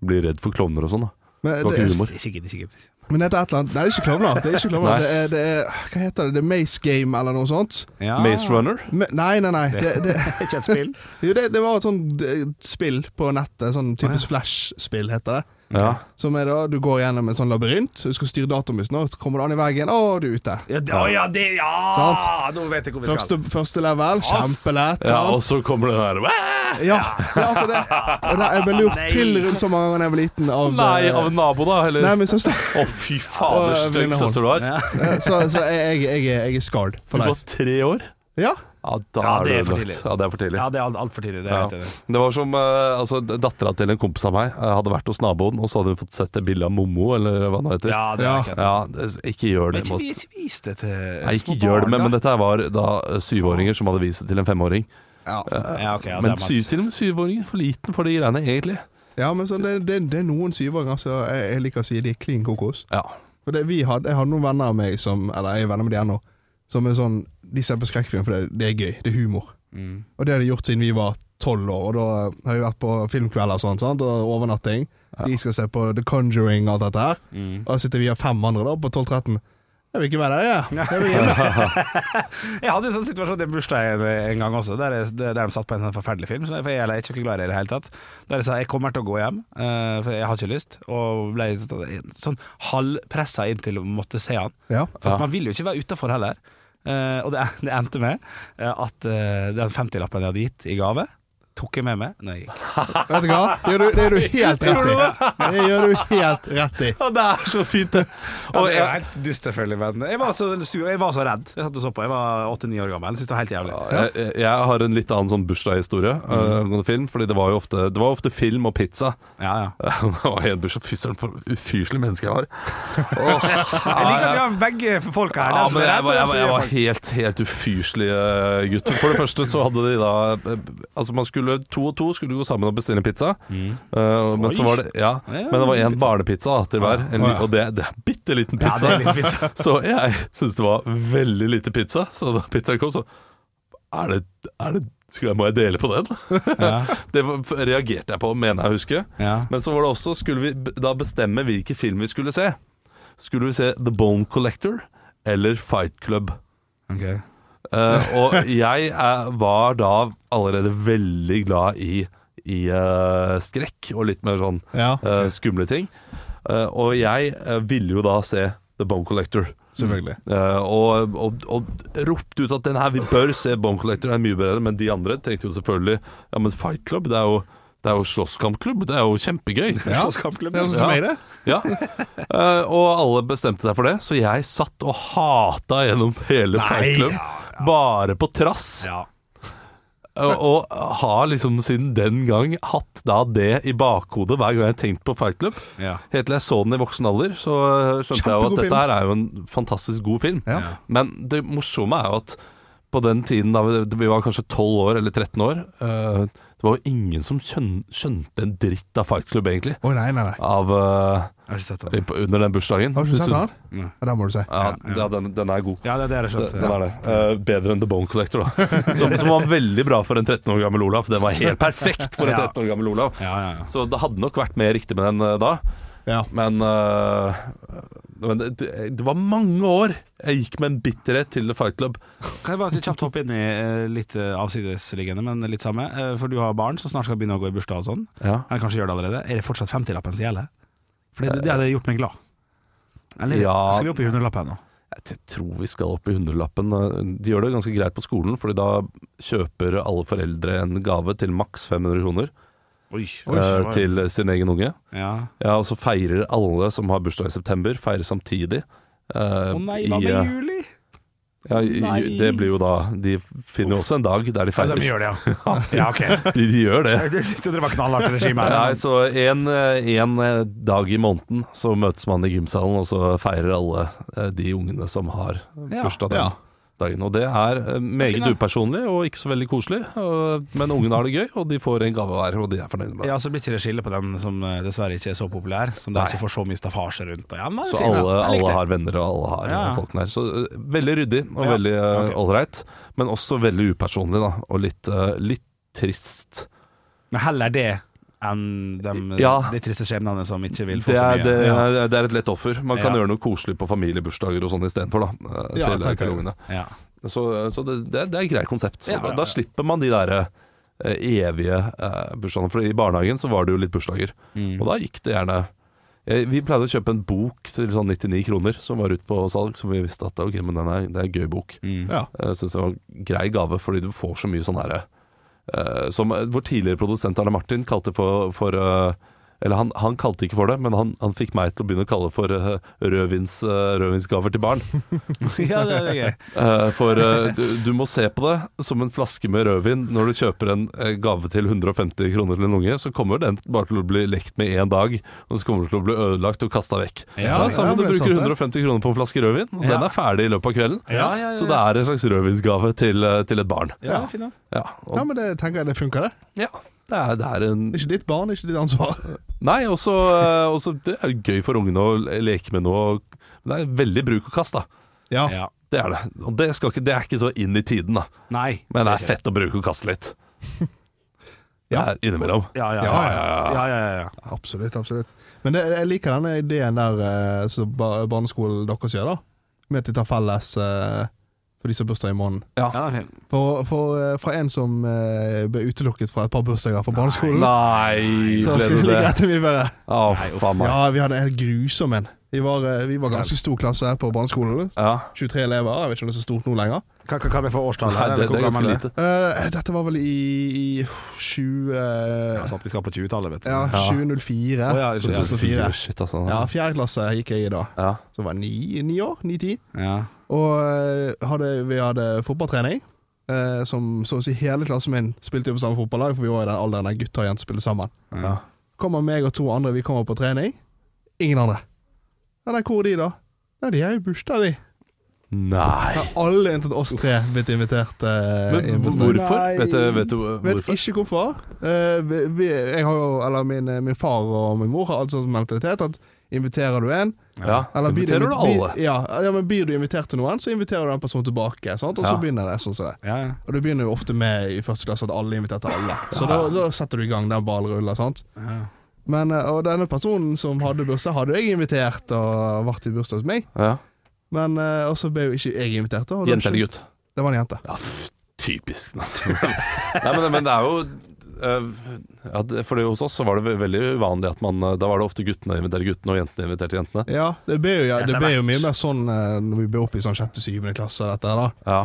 blir redd for klovner og sånn. da
Men,
Det var ikke
det,
humor.
Ikke gidd, ikke gidd.
men dette er et eller annet Nei, det er ikke klovner. Det er ikke klovner.
Nei.
det, er, det er, Hva heter det? The Maze Game, eller noe sånt?
Ja.
Maze Runner?
Men, nei, nei, nei. Det, det,
Ikke et spill.
jo, det, det var et sånt eh, spill på nettet. Sånn typisk Flash-spill, heter det.
Ja.
Som er da, Du går gjennom en sånn labyrint, du skal styre datamusen, og så kommer du an i veggen, og du er ute.
Ja, det, å, ja, det, ja!
Sant.
Nå vet jeg hvor vi skal.
Første, første level, kjempelett.
ja, og
sant?
så kommer det der "Wæ!"
Ja, det er akkurat det. Og da, jeg ble lurt
Nei.
til rundt så mange ganger da jeg var liten av
Nei,
eh,
av en nabo, da? Eller?
Nei, min søster.
Å, fy fader,
Å,
stygg
Blindeholm.
søster du har.
Eh, Så, så jeg, jeg, jeg, er- jeg er skard
Du
for
var
life.
tre år?
Ja.
Ja, da
Ja,
er
det er
du
for
ødelagt.
tidlig.
Ja, det er for tidlig.
Ja, det er alt- altfor tidlig. Det
Ja.
vet jeg. det.
Det var som eh, altså, dattera til en kompis av meg eh, hadde vært hos naboen, og så hadde hun fått sett et bilde av Mommo, eller hva det heter.
Ja, det er
Ja.
ikke et-
Ja, det- ikke gjør
Men
det
ikke,
mot
vi- ikke vis det til
Nei, ikke
små
gjør det,
barn,
men,
da.
men dette var da eh, syvåringer som hadde vist det til en femåring.
Ja,
ja, ok, ja, det
men
er maks.
syv, til og med syvåringer, for liten for de greiene, egentlig.
ja men sånn, det, det, det er noen syvåringer som jeg, jeg liker å si de er klin kokos.
Ja.
For det, vi hadde, Jeg hadde noen venner av meg som Eller jeg er venner med de ennå. Som er sånn De ser på skrekkfilm fordi det er gøy. Det er humor. Og det har de gjort siden vi var tolv år. Og da har vi vært på filmkvelder og sånn, sant? og overnatting. De skal se på The Conjuring og alt dette her. Og da sitter vi og fem andre da på 12-13. Jeg vil ikke være der, jeg. jeg vil hjem.
Jeg hadde en sånn situasjon i bursdagen en gang også, der, jeg, der de satt på en sånn forferdelig film. så- For jeg, jeg er ikke glad i det i det hele tatt. Der jeg sa jeg kommer til å gå hjem, eh, for jeg har ikke lyst. Og ble sånn- sånn halvpressa inn til å måtte se han.
Ja.
For at man vil jo ikke være utafor heller. Eh, og det, det endte med eh, at eh, den 50-lappen jeg hadde gitt i gave, tok jeg med meg når jeg gikk.
Vet du hva? Det gjør du, det gjør du helt rett i. Det gjør du helt rett i.
Ja, det er så fint, det.
Og
Og
det er jo
jeg,
helt dust, selvfølgelig, men jeg var så sur, jeg var så redd. Jeg satt og så på, jeg var åtte-ni år gammel. Syntes det var helt jævlig.
jeg, jeg har en litt annen sånn bursdagshistorie eh,
Mm.
angående film, fordi det var jo ofte, det var ofte film og pizza.
Ja, ja.
Det var en bursdag, fy søren, for ufyselig menneske jeg var.
Jeg liker at vi har begge folka her.
Ja,
den som
men jeg,
er redd,
var- jeg,
og den
var- jeg
som gjør
var
folk-
helt, helt ufyselig eh, gutt. For det første så hadde de da eh, Altså man skulle to og to skulle gå sammen og bestille pizza. Eh, men så var det Ja,
Mm. Ja,
men det var én barnepizza da, til hver. En, li- og det, det er bitte liten
Ja,
pizza.
det er litt fint.
Så jeg syntes det var veldig lite pizza. Så da pizzaen kom, så er det, er det skulle jeg, Må jeg dele på den? det var- reagerte jeg på, mener jeg å huske.
Ja.
Men så var det også Skulle vi b- da bestemme hvilken film vi skulle se? Skulle vi se The Bone Collector eller Fight Club?
Ok.
Eh, og jeg eh, var da allerede veldig glad i, i eh, skrekk og litt mer sånn
Ja,
eh, skumle ting. Eh, og jeg eh, ville jo da se The Bone Collector.
selvfølgelig.
Eh, og, og, og ropte ut at den her, vi bør se Bone Collector, den er mye bedre. Men de andre tenkte jo selvfølgelig Ja, men Fight Club, det er jo, det er jo slåsskampklubb. Det er jo kjempegøy.
Ja. Det er sånn som
Ja.
meg, det.
Ja, Eh, og alle bestemte seg for det, så jeg satt og hata gjennom hele Fight Club. Bare på trass.
Ja.
Eh, og har liksom siden den gang hatt da det i bakhodet hver gang jeg har tenkt på Fight Club.
Ja.
Helt til jeg så den i voksen alder, så eh, skjønte jeg jo
Kjempegod
at
film.
dette her er jo en fantastisk god film.
Ja.
Men det morsomme er jo at på den tiden da vi- vi var kanskje 12 år eller 13 år, eh, det var jo ingen som skjøn- skjønte en dritt av Fight Club, egentlig.
Å nei, nei, nei.
Av eh,
Jeg har ikke sett
i-
den.
på- under den bursdagen.
Har du ikke
Så-
sett han?
Nei.
Ja, den må du se.
Ja, ja den, den er god.
Ja, det, det har jeg skjønt.
Den er det. Eh, bedre enn The Bone Collector, da. Som, som var veldig bra for en 13 år gammel Olav. Den var helt perfekt for en
Ja.
13 år gammel Olav.
Ja, ja, ja.
Så det hadde nok vært mer riktig med den eh, da.
Ja.
Men, øh, men det, det det var mange år jeg gikk med en bitterhet til Fight Club.
Kan jeg bare kjapt hoppe inn i eh, litt eh, avsidesliggende, men litt samme. Eh, For du har barn som snart skal begynne å gå i bursdag og sånn.
Ja.
Eller kanskje gjør det allerede. Er det fortsatt 50-lappen som gjelder? For det, det hadde gjort meg glad. Eller
Ja.
skal vi opp i 100-lappen nå?
Jeg tror vi skal opp i hundrelappen. eh, De gjør det ganske greit på skolen, Fordi da kjøper alle foreldre en gave til maks 500 kroner
Oi.
eh, til sin egen unge.
Ja.
Ja, Og så feirer alle som har bursdag i september, feirer samtidig. eh,
Å nei,
i,
hva med
eh,
juli?
Ja, i-
Nei.
det blir jo da De finner jo også en dag der de
Ja,
feirer.
de gjør det, ja. Ja, ok.
De, de gjør det.
Jeg trodde det var knallhardt regime
Nei,
her.
så en, eh, en eh, dag i måneden så møtes man i gymsalen, og så feirer alle eh, de ungene som har
Ja.
bursdag den
Ja.
dagen. Og det er eh, meget
Fint, da.
upersonlig og ikke så veldig koselig, og, men ungene har det gøy, og de får en gave hver, og de er fornøyde med det.
Ja, så blir ikke det skille på den som eh, dessverre ikke er så populær, som da ikke får så mye staffasje rundt. Og Ja, men
Så
fin, ja.
alle,
Jeg
alle
likte det.
har venner, og alle har
Ja, ja.
eh, folk der. Så eh, veldig ryddig og
Ja,
veldig
ok.
ålreit, men også veldig upersonlig, da, og litt, eh, litt trist.
Men heller det enn de,
Ja.
de triste skjebnene som ikke vil få
Det
så
er,
mye.
det,
ja.
er- det er et lett offer. Man kan
Ja.
gjøre noe koselig på familiebursdager og sånn istedenfor, da. eh,
Ja,
til,
tenker jeg.
til ungene.
Ja.
Så, eh, så det, det, er- det er et greit konsept.
Ja,
Da-
ja, ja.
Da slipper man de der eh, evige eh, bursdagene. For i barnehagen så var det jo litt bursdager,
Mm.
og da gikk det gjerne Eh, vi pleide å kjøpe en bok til sånn 99 kroner som var ute på salg, som vi visste at ok, men den er, det er en gøy bok.
Ja.
Eh, Jeg syns det var en grei gave, fordi du får så mye sånn herre eh, Som eh, vår tidligere produsent Arne Martin kalte for, for eh, Eller han, han kalte ikke for det, men han, han fikk meg til å begynne å kalle det for eh, rødvins, eh, rødvinsgaver til barn.
ja, det, det er gøy.
Eh, for eh, du, du må se på det som en flaske med rødvin når du kjøper en eh, gave til 150 kroner til en unge, så kommer den bare til å bli lekt med én dag, og så kommer den til å bli ødelagt og kasta vekk.
Ja,
Ja, Samme
ja,
om du
det er sant,
bruker 150
det.
kroner på en flaske rødvin, og
Ja.
den er ferdig i løpet av kvelden.
Ja, ja, ja,
Så det er en slags rødvinsgave til, eh, til et barn.
Ja, det er fint, da.
Ja, og,
ja, men det tenker jeg det funker, det.
ja det, er, det er en
Det er Ikke ditt barn, ikke ditt ansvar.
Nei, også, eh, også det er gøy for ungene å le- leke med noe. Det er veldig bruk og kast, da.
Ja.
Ja.
Det er det. Og det, skal ikke, det er ikke så inn i tiden, da.
Nei.
Men det
ikke
er fett å bruke og kaste litt. ja.
Ja.
Innimellom.
Ja, ja, ja.
Ja,
ja, ja, ja, ja.
Absolutt, absolutt. Men det, jeg liker denne ideen der eh, som ba- barneskolen deres gjør, da. Med at de tar felles eh, for de som har bursdag i måneden.
ja det er fint.
For, for, eh, fra en som eh, ble utelukket fra et par bursdager på barneskolen.
Nei,
Så
ble
så
det
ligger
det?
etter vi bare
Å, faen meg.
Ja, vi hadde en helt grusom en. Vi var, eh, vi var ganske stor klasse her på barneskolen.
Ja.
23 elever. Jeg vet ikke om det er så stort nå lenger.
Kan, kan- kan jeg få årstallet?
Nei,
eller
det,
hvor
det er ganske
gammel
lite.
Eh, dette var vel i, i 20...
Ja, sant, vi skal på 20-tallet, vet du.
Ja, 2004.
Å, ja, unnskyld, ja.
2004.
Shit, altså.
Ja, fjerde klasse gikk jeg i da.
Ja.
Så var jeg ni, ni år. Ni-ti.
Ja.
Og eh, hadde, vi hadde fotballtrening. eh, som så å si hele klassen min spilte jo på samme fotballag, for vi var i den alderen der gutter og jenter spilte sammen.
Ja.
Kommer meg og to andre, vi kommer på trening. Ingen andre. Ja, nei, hvor er de, da? Nei, de er jo i bursdag, de.
Nei.
Ja, alle unntatt oss tre blitt invitert. eh, i en
Men
bursdag.
hvorfor? Vet du, vet du
Vet
hvorfor?
ikke hvorfor. Eh, vi, vi, jeg har jo, eller min, eh, min far og min mor har altså som mentalitet at inviterer du en
Ja,
eller blir
inviterer du
invit-
alle?
Blir, ja, ja, men blir du invitert til noen, så inviterer du den personen tilbake. Sant? Og
Ja.
så begynner det sånn som det.
Ja, ja.
Og det begynner jo ofte med i første klasse at alle er invitert til alle. Så da, da setter du i gang den ballrulla. Sant?
Ja.
Men, eh, og denne personen som hadde bursdag, hadde jeg invitert og vært i bursdag hos meg.
Ja.
Men eh, og så ble jo ikke jeg invitert. da, og da-
Jente eller gutt?
Det var en jente.
Ja, pff, typisk. da. Nei, men, men det er jo eh, ja, det- Fordi hos oss så var det ve- veldig uvanlig at man eh, Da var det ofte guttene inviterte guttene, og jentene inviterte jentene.
Ja, det ble jo, ja, det
Etter
ble jo
hvert.
mye mer sånn eh, når vi ble oppe i sånn sjette-syvende klasse. Dette, her, da.
Ja.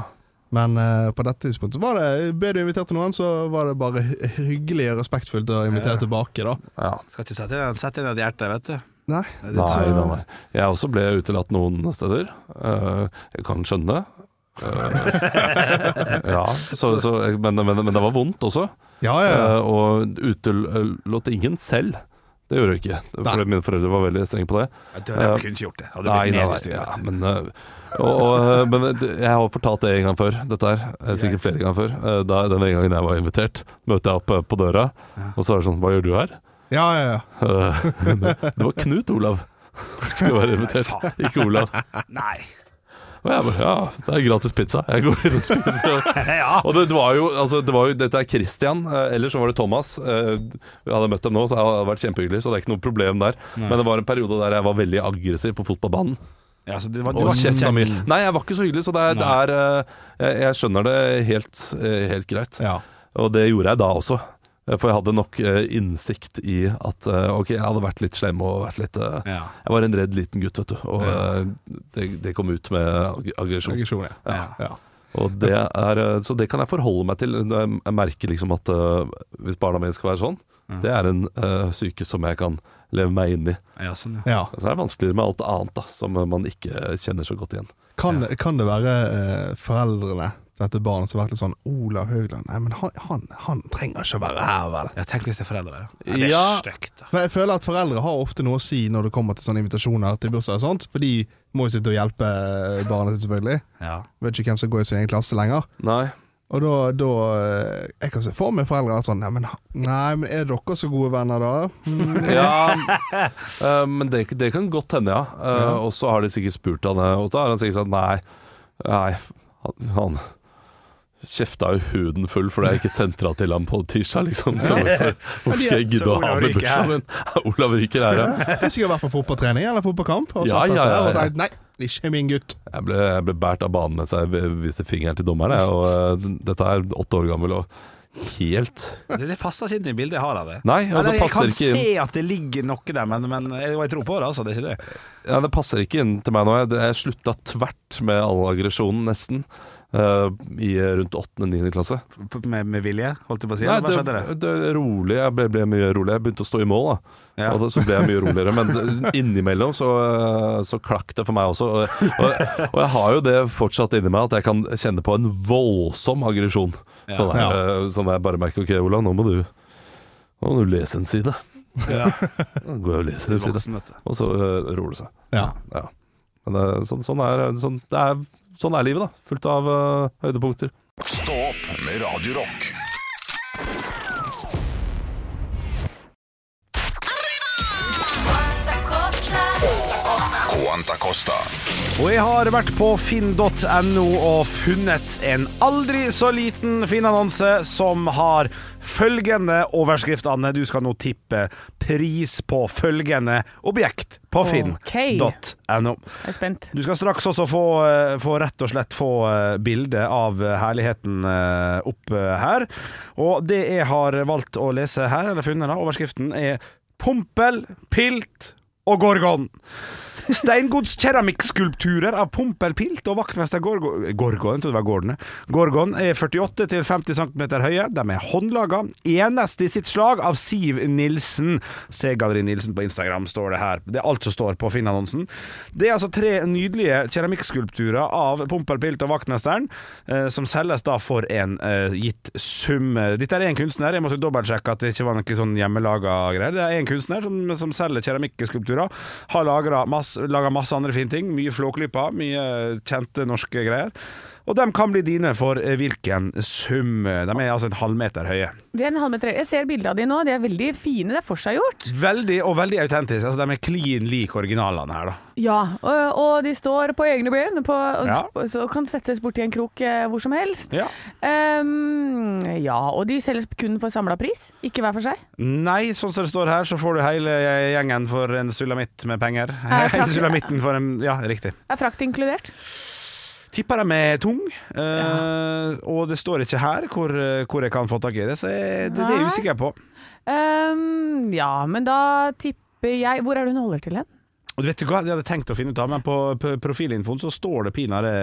Men eh, på dette tidspunktet så var det ble du invitert til noen, så var det bare hy- hyggelig og respektfullt å invitere tilbake, da.
ja.
Skal ikke sette inn, sette inn et hjerte, vet du.
Nei,
Nei,
sånn-
nei, nei. Jeg også ble utelatt noen steder. Eh, jeg kan skjønne det. Eh, ja, så, så, men, men, men det var vondt også.
Ja, ja, ja.
Eh, og utelot ingen selv. Det gjorde jeg ikke, for mine foreldre var veldig strenge på det.
Jeg tror jeg kunne ikke gjort det. Hadde
Nei,
blitt
nei, nei,
nedstyrt.
ja, men, eh, og, og, eh, men det- jeg har fortalt det en gang før, dette her. Eh, Sikkert flere ganger før. Eh, Da, den ene gangen jeg var invitert, møtte jeg opp eh, på døra, og så er det sånn Hva gjør du her?
ja, ja, ja.
Eh, Det var Knut Olav som skulle være invitert, ikke Olav.
Nei.
Og jeg bare, ja, det er gratis pizza. Jeg går inn og spiser. Og det, det var jo, altså, det var jo, dette er Christian, eh, ellers så var det Thomas. Eh, Jeg hadde møtt dem nå, så det hadde vært kjempehyggelig, så det er ikke noe problem der. Men det var en periode der jeg var veldig aggressiv på fotballbanen.
Ja, så det var, det
Og
var ikke
kjefta mye.
kjekt.
Nei, jeg var ikke så hyggelig, så det er, det er eh, jeg, jeg skjønner det helt, eh, helt greit.
Ja.
Og det gjorde jeg da også. Eh, For jeg hadde nok eh, innsikt i at eh, ok, jeg hadde vært litt slem og vært litt eh,
Ja.
Jeg var en redd liten gutt, vet du. Og eh, det, det kom ut med ag- aggresjon.
Aggresjon, ja.
Ja.
ja.
Og det er, eh, så det kan jeg forholde meg til. når Jeg jeg merker liksom at eh, hvis barna mine skal være sånn, det er en eh, psyke som jeg kan leve meg inn i.
Ja, sånn, ja.
ja.
Så er det vanskeligere med alt annet da, som man ikke kjenner så godt igjen.
Kan, det- kan det være eh, foreldrene til dette barnet som har vært litt sånn Olav Haugland Nei, men han, han, han trenger ikke å være her, vel?
ja tenk hvis det er foreldre, ja. Ja, Det er
Ja.
stygt, da.
For Jeg føler at foreldre har ofte noe å si når det kommer til sånne invitasjoner til bursdag og sånt. For de må jo sitte og hjelpe barna sitt, selvfølgelig.
Ja.
Vet ikke hvem som går i sin egen klasse lenger.
Nei.
Og da, da eh, Jeg kan se for meg foreldre er sånn Nei, men, nei, men er dere så gode venner, da?
Ja, eh, men det, det kan godt hende, ja. Eh, Og så har de sikkert spurt han, eh, og da har han sikkert sagt nei. nei han, han kjefta jo huden full fordi jeg ikke sentra til ham på tirsdag, liksom. Så hvorfor, hvorfor skal jeg gidde
Så
å ha
Olav
med
Ryker er her.
bursdagen min? Olav Ryker er her.
Jeg har sikkert vært på fotballtrening eller fotballkamp og
Ja, ja,
satt dette
ja,
her og
ja.
tenkt Nei, ikke min gutt.
Jeg ble, jeg ble båret av banen mens jeg viste fingeren til dommeren. Jeg, og eh, dette er åtte år gammel og helt
Det, det passer ikke inn i bildet jeg har av det.
Nei, ja, det
Eller, jeg
passer
kan
ikke inn.
se at det ligger noe der, men, men jeg, jeg tror på det, altså. Det er ikke det.
Ja, det passer ikke inn til meg nå. Jeg, jeg slutta tvert med all aggresjonen, nesten. eh, I rundt 8.-9. klasse.
P- Med, med vilje, holdt jeg på å si. eller Hva skjedde det?
det, det er rolig. Jeg ble, ble mye roligere. Jeg begynte å stå i mål, da.
Ja.
Og det, så ble jeg mye roligere. Men innimellom så, eh, så klakk det for meg også. Og, og, og jeg har jo det fortsatt inni meg, at jeg kan kjenne på en voldsom aggresjon.
Ja.
Sånn, der, eh, sånn der jeg bare merker OK, Olav, nå må du Nå må du lese en side.
Ja.
Nå går jeg og leser en side.
Voksen, vet du.
Og så eh, roer det seg.
Ja.
Ja. Men det, er- sånn, sånn, er, sånn, det er, sånn er livet, da. Fullt av eh, høydepunkter.
Stå opp med Radio Rock. Quanta Costa.
Og jeg har vært på finn.no og funnet en aldri så liten Finn-annonse som har følgende overskrift, Anne. Du skal nå tippe pris på følgende objekt på finn.no.
Ok. Jeg er spent.
Du skal straks også få, eh, få rett og slett få eh, bilde av eh, herligheten eh, opp eh, her. Og det jeg har valgt å lese her, eller funnet da, overskriften, er Pompel, pilt og gorgon. Steingodskeramikkskulpturer av Pompel, pilt og vaktmester Gorgon Gorgon, jeg trodde det var Gordon. jeg. Gorgon er 48-50 cm høye. De er håndlaga. Eneste i sitt slag av Siv Nilsen. Se Galleri Nilsen på Instagram, står det her. Det er alt som står på Finn-annonsen. Det er altså tre nydelige keramikkskulpturer av Pompel, pilt og vaktmesteren, eh, som selges da for en eh, gitt sum. Dette er en kunstner. Jeg måtte dobbeltsjekke at det ikke var noe sånn hjemmelaga greier. Det er en kunstner som, som selger keramikkskulpturer. Har laga masse, laget masse andre fine ting. Mye Flåklypa, mye kjente norske greier. Og de kan bli dine for eh, hvilken sum. De er altså en halvmeter høye.
De er en halvmeter høye. Jeg ser bildene av de nå. De er veldig fine. Det er forseggjort.
Veldig og veldig autentiske. Altså, de er klin lik originalene her, da.
Ja, og, og de står på egne ben på, og,
Ja.
og kan settes borti en krok eh, hvor som helst.
Ja.
Ehm, ja, og de selges kun for samla pris, ikke hver for seg.
Nei, sånn som det står her, så får du hele gjengen for en sulamitt med penger.
Er
Hele
frakt-
sulamitten for en Ja, riktig.
Er frakt inkludert?
Tipper de er tung, eh, og det står ikke her hvor, eh, hvor jeg kan få tak i det, så jeg, det, det er jeg
Nei.
usikker på.
Ehm, ja, men da tipper jeg Hvor er det hun holder til hen?
Og du vet jo hva, jeg hadde tenkt å finne ut av, men på, på profilinfoen så står det pinadø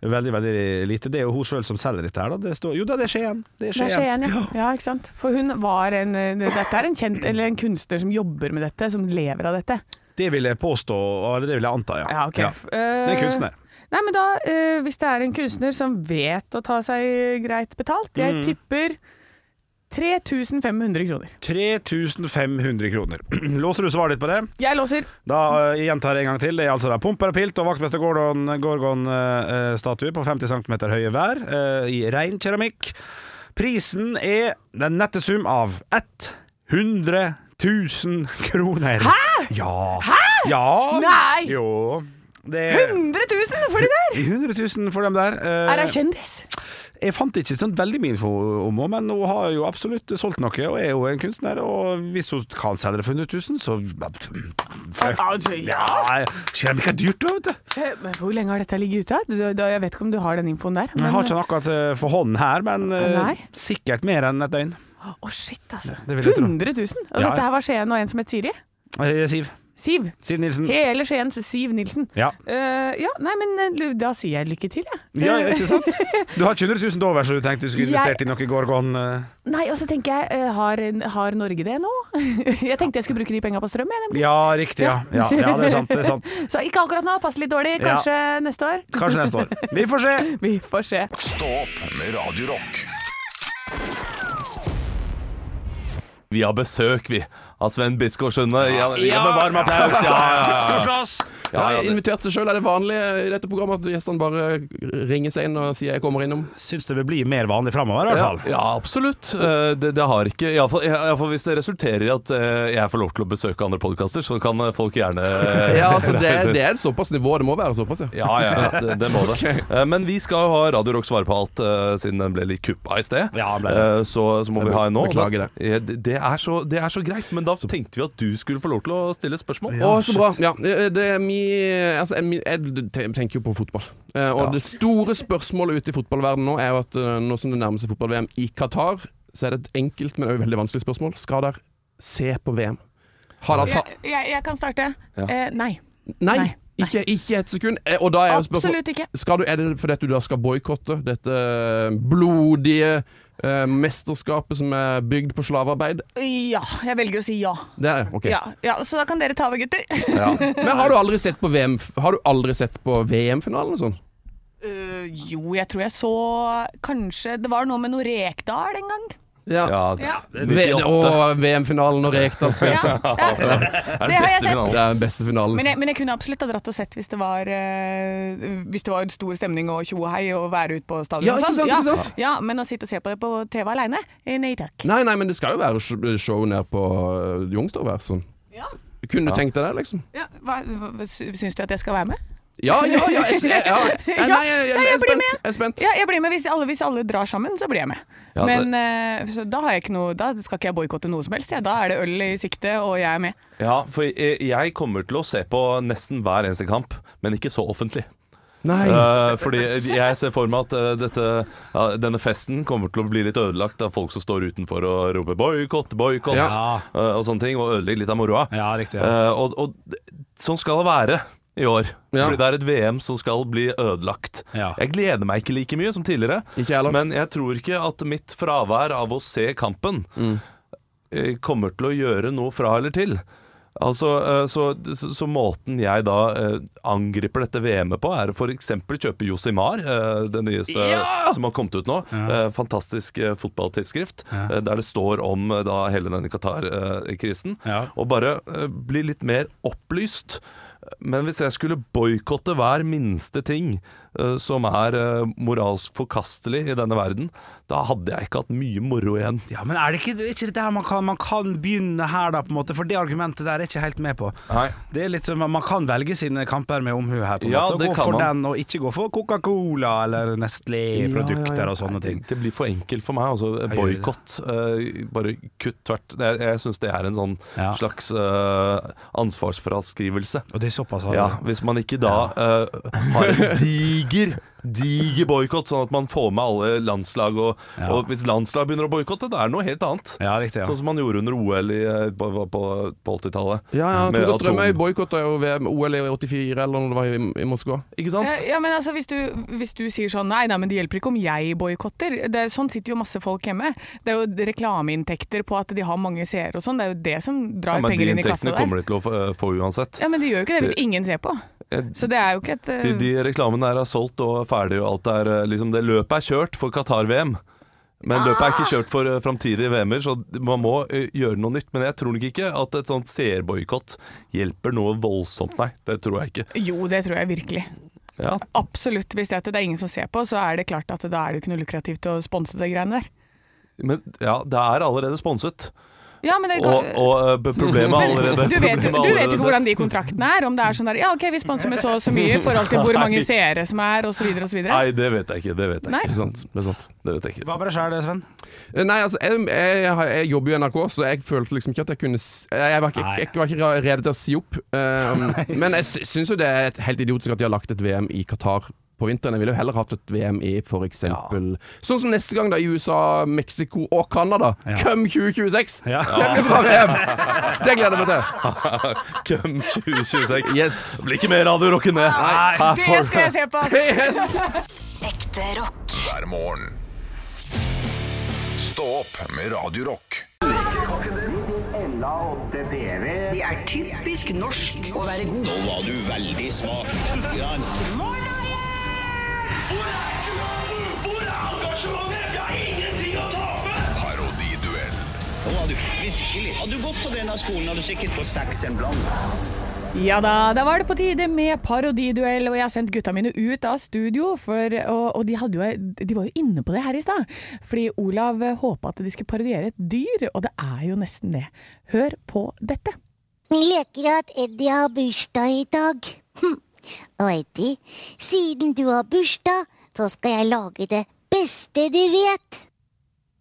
veldig, veldig lite. Det er jo hun sjøl som selger dette her, da. Det står, jo da, det er Skien. Det er
Det er
Skien.
Skien, ja. ja. Ikke sant? For hun var en eh, Dette er en kjent Eller en kunstner som jobber med dette, som lever av dette.
Det vil jeg påstå, eller det vil jeg anta, ja.
Ja, ok.
Det er kunstner.
Nei, men da, eh, hvis det er en kunstner som vet å ta seg greit betalt,
Mm.
jeg tipper 3500 kroner.
3500 kroner. Låser du svaret ditt på det?
Jeg låser.
Da eh, gjentar jeg en gang til. Det er altså da Pumper og Pilt og vaktmester Gorgon-statue eh, på 50 cm høye hver eh, i rein keramikk. Prisen er den nette sum av 100 000 kroner. Hæ?! Ja. Hæ?! Ja.
Nei!
Jo. Det er
100 000 for de der!
100 000 for dem der. Eh,
Er hun kjendis?
Jeg fant ikke sånn veldig mye info om henne, men hun har jo absolutt solgt noe, og er jo en kunstner. Og hvis hun kan selge det for 100 000, så Fuck.
Altså,
Ja, keramikk er dyrt, vet du.
Men hvor lenge har dette ligget ute? Du, du, jeg vet ikke om du har den infoen der.
Jeg har
men-
ikke den akkurat eh, for hånden her, men eh,
Nei.
sikkert mer enn et døgn.
Å, shit, altså.
det vil jeg tro.
100 000. Og
Ja,
dette
ja.
her var Skien og en som het Siri.
Eh, Siv.
Siv.
Siv Nilsen.
Hele Skiens Siv Nilsen.
Ja.
Eh, ja, nei, men eh, da sier jeg lykke til, jeg.
ja,
Eh,
ikke sant? Du har ikke 100 000 over, så du tenkte du skulle
Jeg-
investert i noe Gorgon? eh.
Nei, og så tenker jeg, eh, har, har Norge det nå? jeg tenkte jeg skulle bruke de penga på strøm, jeg, nemlig.
Ja, riktig. Ja. Ja, ja, det er sant. Det er sant.
Så ikke akkurat nå, passer litt dårlig. Kanskje neste år.
Kanskje neste år. Vi får se.
Vi får se.
Stå opp med Radio Rock.
Vi har besøk, vi, av Sven Biskår Sunde. Ja, gi ham en varm applaus. Ja, ja, ja.
Jeg har invitert seg sjøl. Er det vanlig i dette programmet at gjestene bare ringer seg inn og sier 'jeg kommer innom'?
Syns det vil bli mer vanlig framover, i hvert
Ja,
fall.
ja, absolutt. Eh, Det, det har ikke Iallfall hvis det resulterer i at eh, jeg får lov til å besøke andre podkaster, så kan eh, folk gjerne eh,
Ja, altså, det, det er et såpass nivå. Det må være såpass, ja.
Ja, ja, ja, det, det må det. Eh, Men vi skal jo ha Radio Rock svar på alt, eh, siden den ble litt kuppa i sted.
Ja, ble det.
Eh, Så, så må
Jeg
vi ha en nå. Da-
beklager
eh, det. Det er, så, det er så greit, men da tenkte vi at du skulle få lov til å stille spørsmål.
Å, så bra. Ja, eh, det er mi, altså, jeg- mi, jeg te- tenker jo på fotball. Eh, Og det store spørsmålet ute i fotballverdenen nå er jo at eh, nå som det nærmer seg fotball-VM i Qatar, så er det et enkelt, men også veldig vanskelig spørsmål. Skal dere se på VM? Har dere tatt
Jeg, jeg, jeg kan starte. Eh, nei.
Nei,
Nei, nei.
Ikke, ikke et sekund. Eh, Og da er jo spørsmålet
Absolutt ikke.
Skal du, er det fordi at du da skal boikotte dette eh, blodige eh, mesterskapet som er bygd på slavearbeid?
Ja, jeg velger å si ja.
Det er OK.
ja, ja så da kan dere ta over, gutter.
Men har du aldri sett på VM Har du aldri sett på VM-finalen og sånn?
Eh, jo, jeg tror jeg så Kanskje Det var noe med noe Rekdal en gang.
Ja.
Ja.
V- Og VM-finalen og Rekdal
Ja,
spilte.
ja. Det har jeg sett.
Det er den beste finalen.
Men jeg, men jeg kunne absolutt ha dratt og sett hvis det var eh, Hvis det var stor stemning og tjo og hei og være ute på stadion
Ja,
og
ikke
sånn.
sant,
Ja,
ikke sant?
ja, men å sitte og se på det på TV aleine? eh, Nei takk.
Nei, nei, men det skal jo være sh- show nede på øh, Youngstorget. her, Sånn.
Ja.
Kunne du tenkt deg det, liksom?
Ja, hva, hva, sy- syns du at jeg skal være med?
Ja, ja, ja. Jeg, jeg, ja. Nei,
Ja,
nei, jeg, jeg,
nei,
jeg
jeg
er
blir med.
spent. Jeg er spent.
Ja, jeg blir med hvis alle, hvis alle drar sammen, så blir jeg med.
Ja, det-
Men eh, så da, har jeg ikke noe, da skal ikke jeg boikotte noe som helst. jeg. Da er det øl i sikte, og jeg er med.
Ja, for jeg, jeg kommer til å se på nesten hver eneste kamp, men ikke så offentlig.
Nei.
Eh, fordi jeg ser for meg at eh, dette, ja, denne festen kommer til å bli litt ødelagt av folk som står utenfor og roper 'boikott, boikott'
Ja.
eh, og sånne ting, og ødelegger litt av moroa.
Ja, riktig. Ja.
Eh, og, og d- sånn skal det være i år.
Ja.
Fordi det er et VM som skal bli ødelagt.
Ja.
Jeg gleder meg ikke like mye som tidligere,
Ikke jeg heller.
men jeg tror ikke at mitt fravær av å se kampen
Mm.
eh, kommer til å gjøre noe fra eller til. Altså, eh, så, så, så måten jeg da eh, angriper dette VM-et på, er å f.eks. kjøpe Josimar, eh, det nyeste som har kommet ut nå. Eh, Fantastisk eh, fotballtidsskrift, eh, der det står om eh, da hele denne Qatar-krisen.
Ja.
Og bare eh, bli litt mer opplyst. Men hvis jeg skulle boikotte hver minste ting eh, som er eh, moralsk forkastelig i denne verden, da hadde jeg ikke hatt mye moro igjen.
Ja, men er det ikke, er ikke det der man kan, man kan begynne her, da, på en måte? For det argumentet der er jeg ikke helt med på.
Nei.
Det er litt, som- man kan velge sine kamper med omhu her, på en
Ja,
måte.
det
Gå
kan
for
man.
den, og ikke gå for Coca-Cola eller Nestlé-produkter og sånne ting.
Det blir for enkelt for meg. Altså,
gjør det.
Boikott. eh, bare kutt tvert. Jeg, jeg syns det er en sånn
Ja.
slags eh, ansvarsfraskrivelse.
Og det er såpass altså. har
Ja,
du.
hvis man ikke da eh, har en diger Diger boikott, sånn at man får med alle landslag. Og,
Ja.
og hvis landslag begynner å boikotte, da er det noe helt annet.
ja, riktig. Ja.
Sånn som man gjorde under OL i, eh, på, på, på 80-tallet.
Ja, ja,
Med
Tore Strømøy
atom-
boikotta jo VM, OL i 84 E eller når det var i, i Moskva.
Ikke sant?
Ja, men altså, hvis du, hvis du sier sånn nei, nei, men det hjelper ikke om jeg boikotter. Det er- Sånn sitter jo masse folk hjemme. Det er jo reklameinntekter på at de har mange seere og sånn. Det er jo det som
Ja,
drar
men de
penger inn i kassa
inntektene
der.
kommer de til å få, eh, få uansett.
Ja, men det gjør jo ikke det hvis
Det-
ingen ser på.
Eh,
Så det er jo ikke et eh,
De, de reklamene her er solgt og ferdig, og alt er eh, liksom Det løpet er kjørt for Qatar-VM. Men løpet er
Ah.
ikke kjørt for eh, framtidige VM-er, så man må eh, gjøre noe nytt. Men jeg tror nok ikke at et sånt seerboikott hjelper noe voldsomt, nei. Det tror jeg ikke.
eh, Jo, det tror jeg virkelig.
Ja,
Absolutt. Hvis det, at det er ingen som ser på, så er det klart at da er det jo ikke noe lukrativt å sponse det greiene der.
men ja, det er allerede sponset.
Ja, men det kan,
Og, og eh, problemet er allerede
du vet,
problemet er
jo- du vet
allerede
jo hvordan de kontraktene er. Om det er sånn der Ja, OK, vi sponser med så og så mye i forhold til hvor mange seere som er, osv., osv.
sett. Nei, det vet jeg ikke. Det vet jeg
Nei.
ikke.
Det er sant. Det er sant.
Det vet jeg ikke.
Hva med deg sjøl, Sven?
Eh, Nei, altså, jeg, jeg, har- jeg jobber jo i NRK, så jeg følte liksom ikke at jeg kunne s- Jeg var ikke,
Nei.
jeg var ikke ra- rede til å si opp. eh, men jeg sy- syns jo det er et helt idiotisk at de har lagt et VM i Qatar på vinteren. Jeg ville jo heller hatt et VM i for eksempel Sånn som neste gang, da, i USA, Mexico og Canada.
Ja.
Come 2026!
Ja.
Det blir bra VM! Det gleder jeg meg til.
Køm 2026.
Yes.
Det blir ikke mer Radio Rock enn det. Her
Det
får-
skal jeg se på, ass!
yes.
Ekte rock.
hver morgen. Stå opp med Radio Rock.
Det er typisk norsk å være god. Nå var du veldig svak.
Hvor er engasjementet? Jeg har ingenting å tape!
Parodiduell
Nå var du virkelig. Hadde du gått på denne skolen, hadde du sikkert fått seks en blant.
Ja da, da var det på tide med parodiduell, og jeg har sendt gutta mine ut av studio. For, og og de, hadde jo, de var jo inne på det her i stad, fordi Olav håpa at de skulle parodiere et dyr, og det er jo nesten det. Hør på dette.
Vi leker at Eddie har bursdag i dag. Hm. Og Eddie, siden du har bursdag, så skal jeg lage det beste du vet.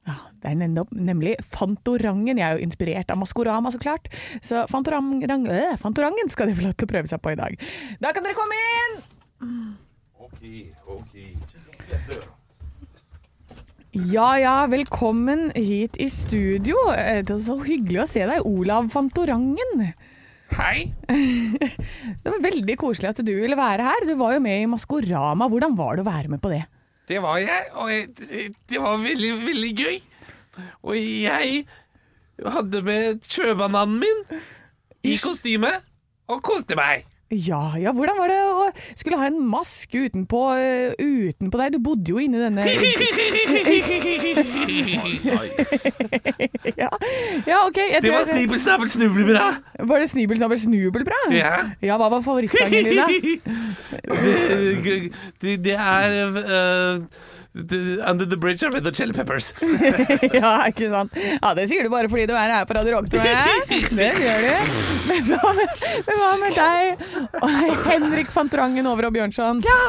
Ja, det er nemlig, nemlig Fantorangen. Jeg er jo inspirert av Maskorama, så klart. Så Fantorang, øh, Fantorangen skal de få lov til å prøve seg på i dag. Da kan dere komme inn! Ja ja, velkommen hit i studio. Eh, Det er så hyggelig å se deg, Olav Fantorangen.
Hei.
Det var veldig koselig at du ville være her. Du var jo med i Maskorama. Hvordan var det å være med på det?
Det var jeg, og jeg- det var veldig, veldig gøy. Og jeg hadde med sjøbananen min i kostyme og koste meg.
Ja, ja, hvordan var det å skulle ha en maske utenpå, eh, utenpå deg? Du bodde jo inni denne ja. ja, ok. Jeg
Det
tror
var
jeg-
snibbel, snabbel, snublebra.
Var det snibel, snabel, snubel, bra?
Ja.
ja, hva var favorittsangen din, da?
Det, det, det er øh, det- Under the bridge are red hot chili peppers.
ja, ikke sant? Ja, det sier du bare fordi du er her på Radio Rock, tror jeg. Det gjør du. Men hva med, men hva med deg? Og Henrik Fantorangen over og Bjørnson. Ja,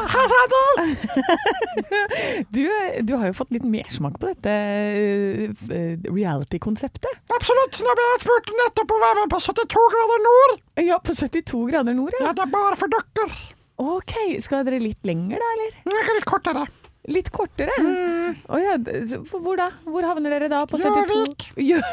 du, eh, du har jo fått litt mersmak på dette eh, eh, reality-konseptet.
Absolutt. Nå ble jeg spurt nettopp å være med på 72 grader nord.
Ja, på 72 grader nord, ja.
det er bare for dere.
Ok, skal dere litt lenger da, eller?
Jeg er litt kortere.
Litt kortere?
Mm.
Å ja, d- så hvor- hvor da? Hvor havner dere da på 72? Gjøvik!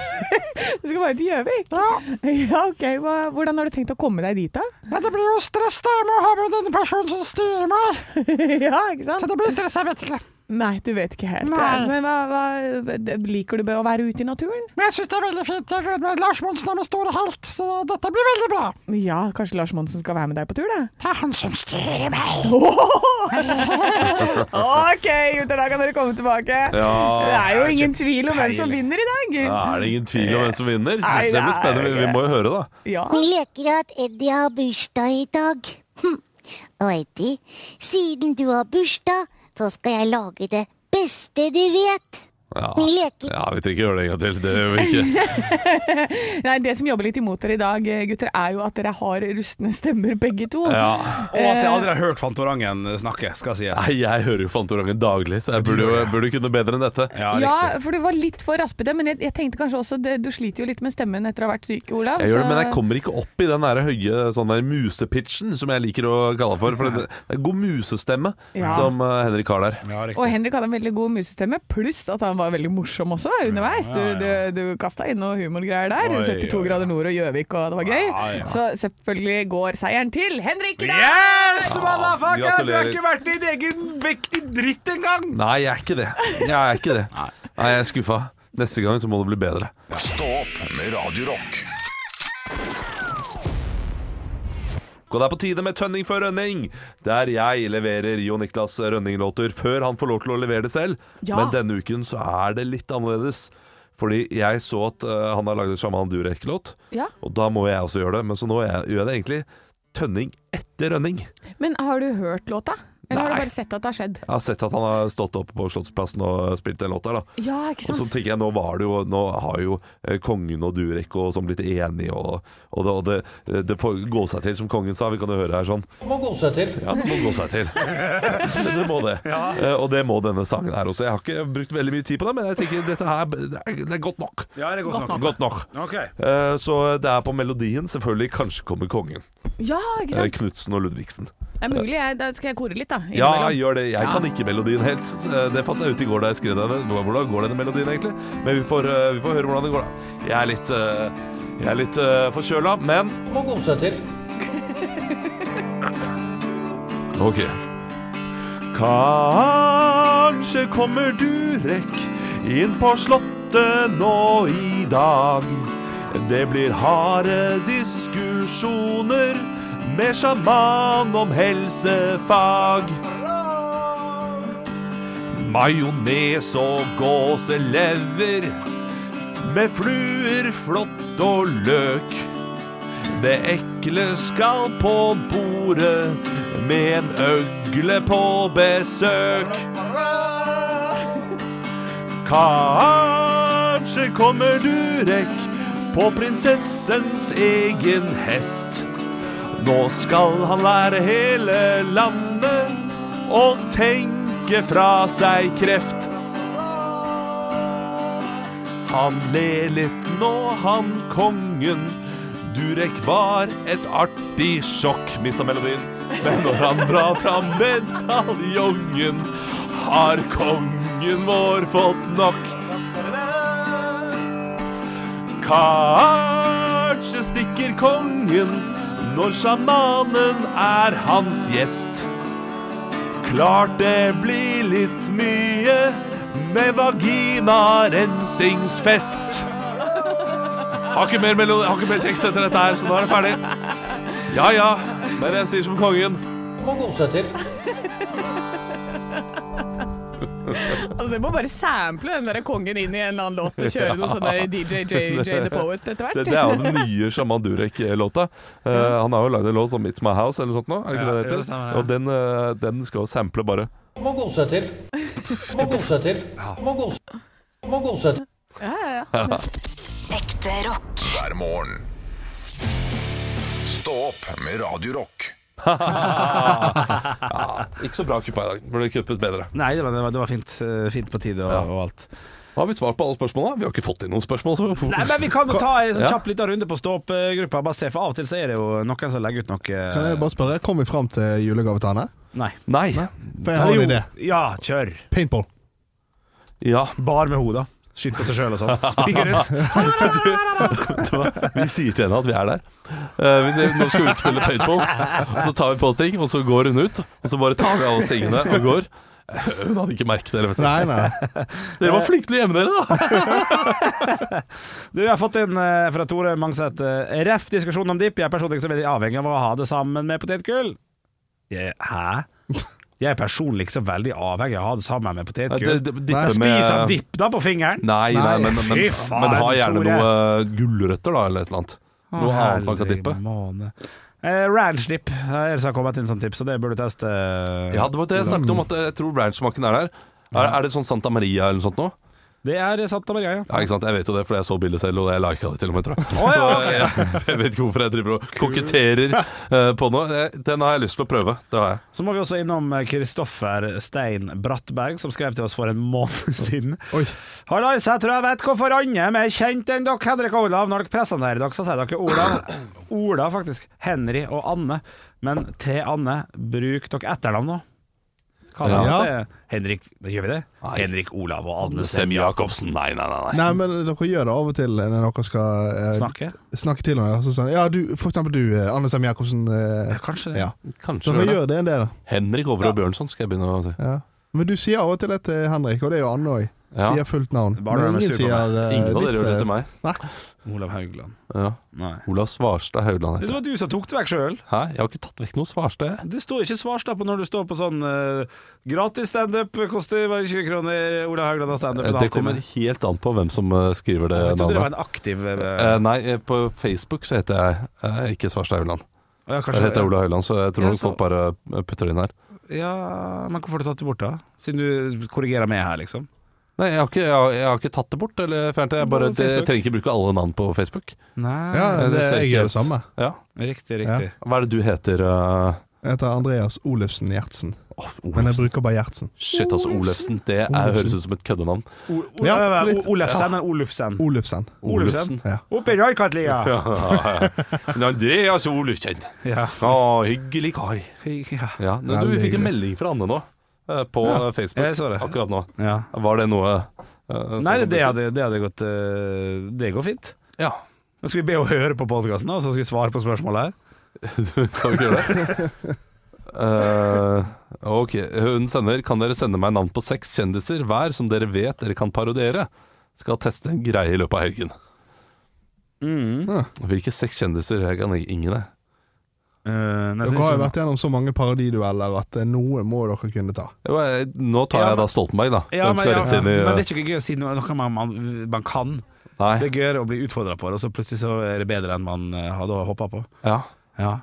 du skal bare til Gjøvik? Ja. ok. Hva, hvordan har du tenkt å komme deg dit da?
Men det blir jo stress da med å ha med denne personen som styrer meg.
ja, ikke sant?
det blir stress, jeg vet ikke.
Nei, du vet ikke helt.
Nei.
Men hva, hva, d- liker du be- å være ute i naturen?
Men jeg syns det er veldig fint. Jeg gleder meg. Lars Monsen er med store helt, så dette blir veldig bra.
Ja, kanskje Lars Monsen skal være med deg på tur da?
Det er han som styrer meg.
ok, gutter, da kan dere komme tilbake. det er jo ingen tvil om hvem som vinner i dag.
Ja, er det ingen tvil om hvem som vinner?
Nei,
det blir spennende. Vi må jo høre, da.
Ja.
Vi leker at Eddie har bursdag i dag. Hm. Og Eddie, siden du har bursdag, så skal jeg lage det beste du vet. Vi leker
Ja, Vi trenger ikke gjøre det en gang til. Det gjør vi ikke.
Nei, Det som jobber litt imot dere i dag, eh, gutter, er jo at dere har rustne stemmer begge to.
Ja.
Og at jeg aldri har hørt Fantorangen snakke, skal sies.
Nei, jeg hører jo Fantorangen daglig, så jeg burde jo jeg burde kunne bedre enn dette.
Ja, for du var litt for raspete, men jeg, jeg tenkte kanskje også det, Du sliter jo litt med stemmen etter å ha vært syk, Olav.
Jeg gjør det,
så-
men jeg kommer ikke opp i den der høye sånn der musepitchen som jeg liker å kalle for. For det det er god musestemme
Ja.
som eh, Henrik har der.
Ja, riktig.
Og Henrik hadde en veldig god musestemme, pluss at han var veldig morsom også underveis. Du, du, du kasta inn noe humorgreier der.
Oi,
72
oi, oi.
grader nord og Gjøvik, og det var gøy.
Ja, ja.
Så selvfølgelig går seieren til Henrik i dag!
Yes, motherfucker! Du har
gratulerer.
ikke vært din egen vektig dritt engang!
Nei, jeg er ikke det. Jeg er ikke det. Nei, jeg er skuffa. Neste gang så må det bli bedre.
Stå opp med Radio Rock
Og det er på tide med Tønning for Rønning, der jeg leverer Jo Niklas Rønning-låter før han får lov til å levere det selv.
Ja.
Men denne uken så er det litt annerledes. Fordi jeg så at eh, han har lagd en Sjaman Durek-låt,
Ja,
og da må jeg også gjøre det. Men så nå gjør jeg, gjør jeg det egentlig Tønning etter Rønning.
Men har du hørt låta? Eller har du
Nei.
bare sett at det har skjedd?
Jeg har sett at han har stått oppe på Slottsplassen og spilt den låta. da
Ja, ikke
Og så
sant?
tenker jeg, nå, var det jo, nå har jo eh, kongen og Durek og sånn blitt enige, og, og, det, og det, det får gå seg til, som kongen sa. Vi kan jo høre her sånn.
Må gå seg til.
Ja, det må gå seg til. Det, det må det. Eh, Og det må denne sangen her også. Jeg har ikke brukt veldig mye tid på det, men jeg tenker dette her det er, det er godt nok.
Ja, er det godt nok?
Godt nok.
Ok.
Eh, Så det er på melodien, selvfølgelig. Kanskje kommer kongen. Eh,
Ja, ikke sant?
Knutsen og Ludvigsen.
Det er mulig. Jeg, da skal jeg kore litt, da.
Ja,
innimellom.
gjør det. Jeg
Ja.
kan ikke melodien helt. Så, eh, Det fant jeg ut i går da jeg skrev denne. Hva- Hvordan går denne melodien egentlig? Men vi får, eh, vi får høre hvordan det går, da. Jeg er litt, eh, jeg er litt eh, forkjøla, men
Må gå seg til.
Ok. Kanskje kommer Durek inn på slottet nå i dag. Det blir harde diskusjoner med sjaman om helsefag. Majones og gåselever med fluer, flått og løk. Det ekle skal på bordet med en øgle på besøk. Kanskje kommer Durek på prinsessens egen hest. Nå skal han lære hele landet å tenke fra seg kreft. Han ler litt nå, han kongen. Durek var et artig sjokk, mista melodien. Men når han drar fram medaljongen, har kongen vår fått nok. Kanskje stikker kongen når sjamanen er hans gjest. Klart det blir litt mye med vaginarensingsfest. Har ikke mer, melodi, har ikke mer tekst etter dette her, så nå er det ferdig. Ja ja, men jeg sier som kongen.
Må gå seg til.
Altså, det må bare sample den der kongen inn i en eller annen låt og kjøre noe sånn der DJ JJ The Poet etter hvert.
Det, det er jo den nye Shaman Durek-låta. Eh, han har jo lagd en låt som 'It's My House' eller noe sånt nå. Er det ikke
Ja,
det det
jo,
heter?
det stemmer, ja.
Og den, eh, den skal jo sample bare.
Må gå seg til. Må gå seg til. Må gå seg Må gå seg til.
Ja, ja, ja.
Ekte rock.
hver morgen. Stå opp med Radio Rock.
Ikke så bra kuppa i dag. Burde kuppet bedre.
Nei, det var, det var, det var fint, eh, fint på tide og, og alt.
Da har vi svart på alle spørsmåla. Vi har ikke fått inn noen spørsmål. Så
Nei, men Vi kan jo ta en sånn
Ja.
kjapp liten runde på stå-opp-gruppa, bare se, for av og til så er det jo noen som legger ut noe
Kan jeg bare spørre, kom vi fram til julegave til Anne?
Nei.
Nei.
For jeg har
Jo,
en idé.
Ja, kjør.
Paintball.
Ja,
Bar med hodet. Skyt på seg sjøl og sånn. Spyr ut.
vi sier til henne at vi er der. Eh, vi sier, nå skal vi utspille paintball, og så tar vi på oss ting, og så går hun ut. Og så bare tar vi av oss tingene og går. Eh, Hun hadde ikke merket det. eller vet du.
Nei, nei.
Dere var flinke til å gjemme dere, da!
Du, jeg har fått inn eh, fra Tore Mangseth eh, Ref diskusjon om dipp. Jeg er personlig ikke så veldig avhengig av å ha det sammen med potetgull. Jeg, hæ? Jeg er personlig ikke så veldig avhengig av å ha det sammen med
Nei, det-
potetgull.
det-
Nei,
dippe
Spis han
med-
dipp da på fingeren!
Nei, nei, men, men,
Fy
men,
faen,
men ha gjerne
Tore.
noe eh, gulrøtter, da, eller et eller annet. Noe annet man kan dippe.
Eh, Ranch-dipp. Her har kommet inn sånn tips, så det burde du teste.
Ja, det var det jeg snakket om, at jeg tror ranchmaken er der. Er, er det sånn Santa Maria eller noe sånt nå?
Det er Santa Maria, ja.
Ja, ikke sant? Jeg vet jo det, for jeg så bildet selv, og jeg lika det til og med, tror jeg.
Å, ja,
Så jeg, jeg vet ikke hvorfor jeg driver og koketterer eh, på noe. Eh, Den har jeg lyst til å prøve. Det har jeg.
Så må vi også innom Kristoffer Stein Brattberg, som skrev til oss for en måned siden.
Oi.
Hallais, jeg tror jeg vet hvorfor Anne er mer kjent enn dere, Henrik og Olav. Når dere presser ned dere, så sier dere Olav. Ola, faktisk. Henry og Anne. Men til Anne, bruk dere etternavn nå. Kall
Ja.
ja. Henrik Da gjør vi det? Henrik Olav og Anne
Sem-Jacobsen. Nei, nei, nei. nei.
Nei, men dere gjør det av og til når dere skal eh,
Snakke?
snakke til hverandre. Så sånn, ja, du, for eksempel du, eh, Anne Sem Jacobsen. Eh,
Kanskje det.
ja.
Kanskje
Dere
gjør det.
gjør det en del.
Henrik Over og Bjørnson skal jeg begynne å si.
Ja. Men du sier av og til det til Henrik, og det er jo Anne òg.
Ja.
Sier fullt navn.
Bare
Men
når han er
ingen
sur på
sier eh,
Ingen av
ditt,
dere gjør det
eh,
til meg.
Olav Haugland.
Ja.
Nei.
Olav Svarstad Haugland
Det
heter jeg.
var du som tok det vekk sjøl.
Hæ? Jeg har ikke tatt vekk noe Svarstad. jeg.
Det står ikke svarstapp når du står på sånn eh, gratis standup, koster bare 20 kroner. Ola Haugland har standup. en
Eh, Det
halvtime.
kommer helt an på hvem som eh, skriver det
Jeg trodde det var
navnet.
en aktiv uh,
Eh, nei, eh, på Facebook så heter jeg eh, ikke Svarstad Haugland.
ja,
Der
kanskje,
heter jeg Ola Høiland, så jeg tror
Ja,
nok
så-
folk bare putter det inn her.
Ja, men hvorfor har du tatt det bort, da? Siden du korrigerer meg her, liksom.
Nei, jeg har ikke, jeg har, jeg har ikke tatt det bort. Eller, fjernet det. jeg bare
På
det,
Facebook.
trenger ikke bruke alle navn på Facebook.
Nei
Ja, det,
det ser
jeg
ikke ut.
gjør det samme.
Ja.
Riktig, riktig.
Hva er det du heter? eh? oh,
Jeg heter Andreas Olufsen Gjertsen. Men jeg bruker bare Gjertsen.
shit, altså Olefsen. Det er,
Olefsen.
høres ut som et køddenavn.
O- O-
Ja,
ja,
litt.
O- Olefsen eller Olufsen?
Olufsen.
Olufsen.
Ja.
Oppe i
Ja,
Røykatlia!
ja, ja. Andreas Olufsen.
Ja.
Å, hyggelig kar.
Ja.
Ja, du,
Veldig
vi fikk en
hyggelig.
melding fra Anne nå, eh, på eh, Facebook
jeg så det.
akkurat nå.
Ja.
Var det noe eh,
Nei,
som-
det hadde, det hadde gått eh, Det går fint.
Ja.
Nå skal vi be å høre på podkasten, og så skal vi svare på spørsmålet her.
Kan vi ikke gjøre det? Eh, ok, hun sender Kan dere sende meg navn på seks kjendiser hver som dere vet dere kan parodiere? Skal teste en greie i løpet av helgen. Mm. Hvilke seks kjendiser? Jeg kan ingen, jeg.
Eh, men jeg
Dere har jo
synes-
vært gjennom så mange parodidueller at eh, noe må dere kunne ta.
Jo, jeg- Nå tar
Ja,
jeg da
men-
Stoltenberg, da.
ja,
Den
men,
skal
ja,
rett inn i
men det er ikke gøy å si noe, noe man, man, man kan. Det
Nei.
er gøyere å bli utfordra på det, og så plutselig så er det bedre enn man eh, hadde håpa på.
Ja.
Ja.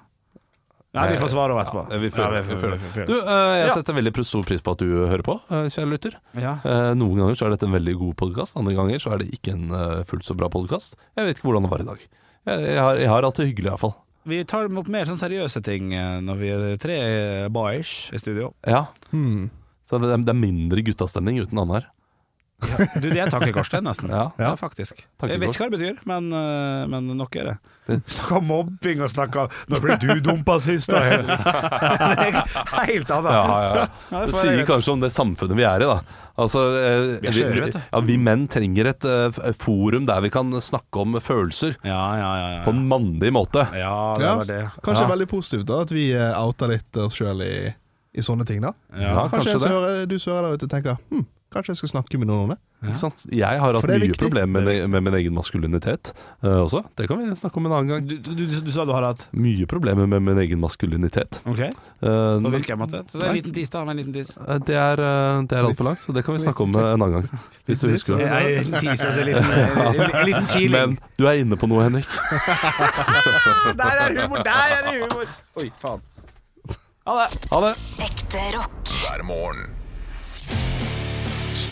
Nei, vi får svare over etterpå.
Ja, vi føler-
Ja,
vi føler-
vi føler.
Du, eh, jeg
Ja.
setter veldig pr- stor pris på at du hører på, eh, kjære lytter.
Ja.
Eh, Noen ganger så er dette en veldig god podkast, andre ganger så er det ikke en eh, fullt så bra podkast. Jeg vet ikke hvordan det var i dag. Jeg, jeg, har, jeg har hatt det hyggelig, iallfall.
Vi tar opp mer sånn seriøse ting eh, når vi er tre eh, boyish i studio.
Ja.
Hmm.
Så det, det er mindre guttastemning uten Anne her.
Du, det er tankekors, det, nesten.
Ja.
Ja, faktisk. Jeg vet
Tankekors.
ikke hva det betyr, men, eh, men nok er det. Vi snakker om mobbing og snakker om 'Nå ble du dumpa sist', da. Det er Helt annet.
Ja, ja, ja.
Ja,
Det
får
sier
jeg-
kanskje om det samfunnet vi er i, da. Altså, eh,
Vi er skjøre, vet du.
ja, vi menn trenger et eh, f- forum der vi kan snakke om følelser
ja, ja, ja, ja.
på en mandig måte.
ja, det
Ja,
var det.
Kanskje
Ja.
veldig positivt da at vi eh, outer litt oss sjøl i, i sånne ting, da.
Ja,
Ja.
kanskje
Kanskje, jeg
det.
som hører, du som hører der ute tenker hm, Kanskje jeg skal snakke med noen om det.
Ikke sant? Jeg har hatt
For det er
mye
viktig.
problemer
Det
med, med min egen maskulinitet eh, også. Det kan vi snakke om en annen gang.
Du, du, du, du sa du har hatt
Mye problemer med min egen maskulinitet.
Ok,
Eh,
nå
men,
virker jeg måtte. Så en liten tiss, da. Med en liten tiss.
eh, det er, eh, det er altfor langt, så det kan vi snakke om eh, en annen gang. Hvis du husker det.
Ja, En liten tiss, altså en liten, eh, en liten
Men
kiling.
du er inne på noe, Henrik.
Der er humor! Der er det humor! Oi, faen. Ha det.
Ekte rock.
hver morgen.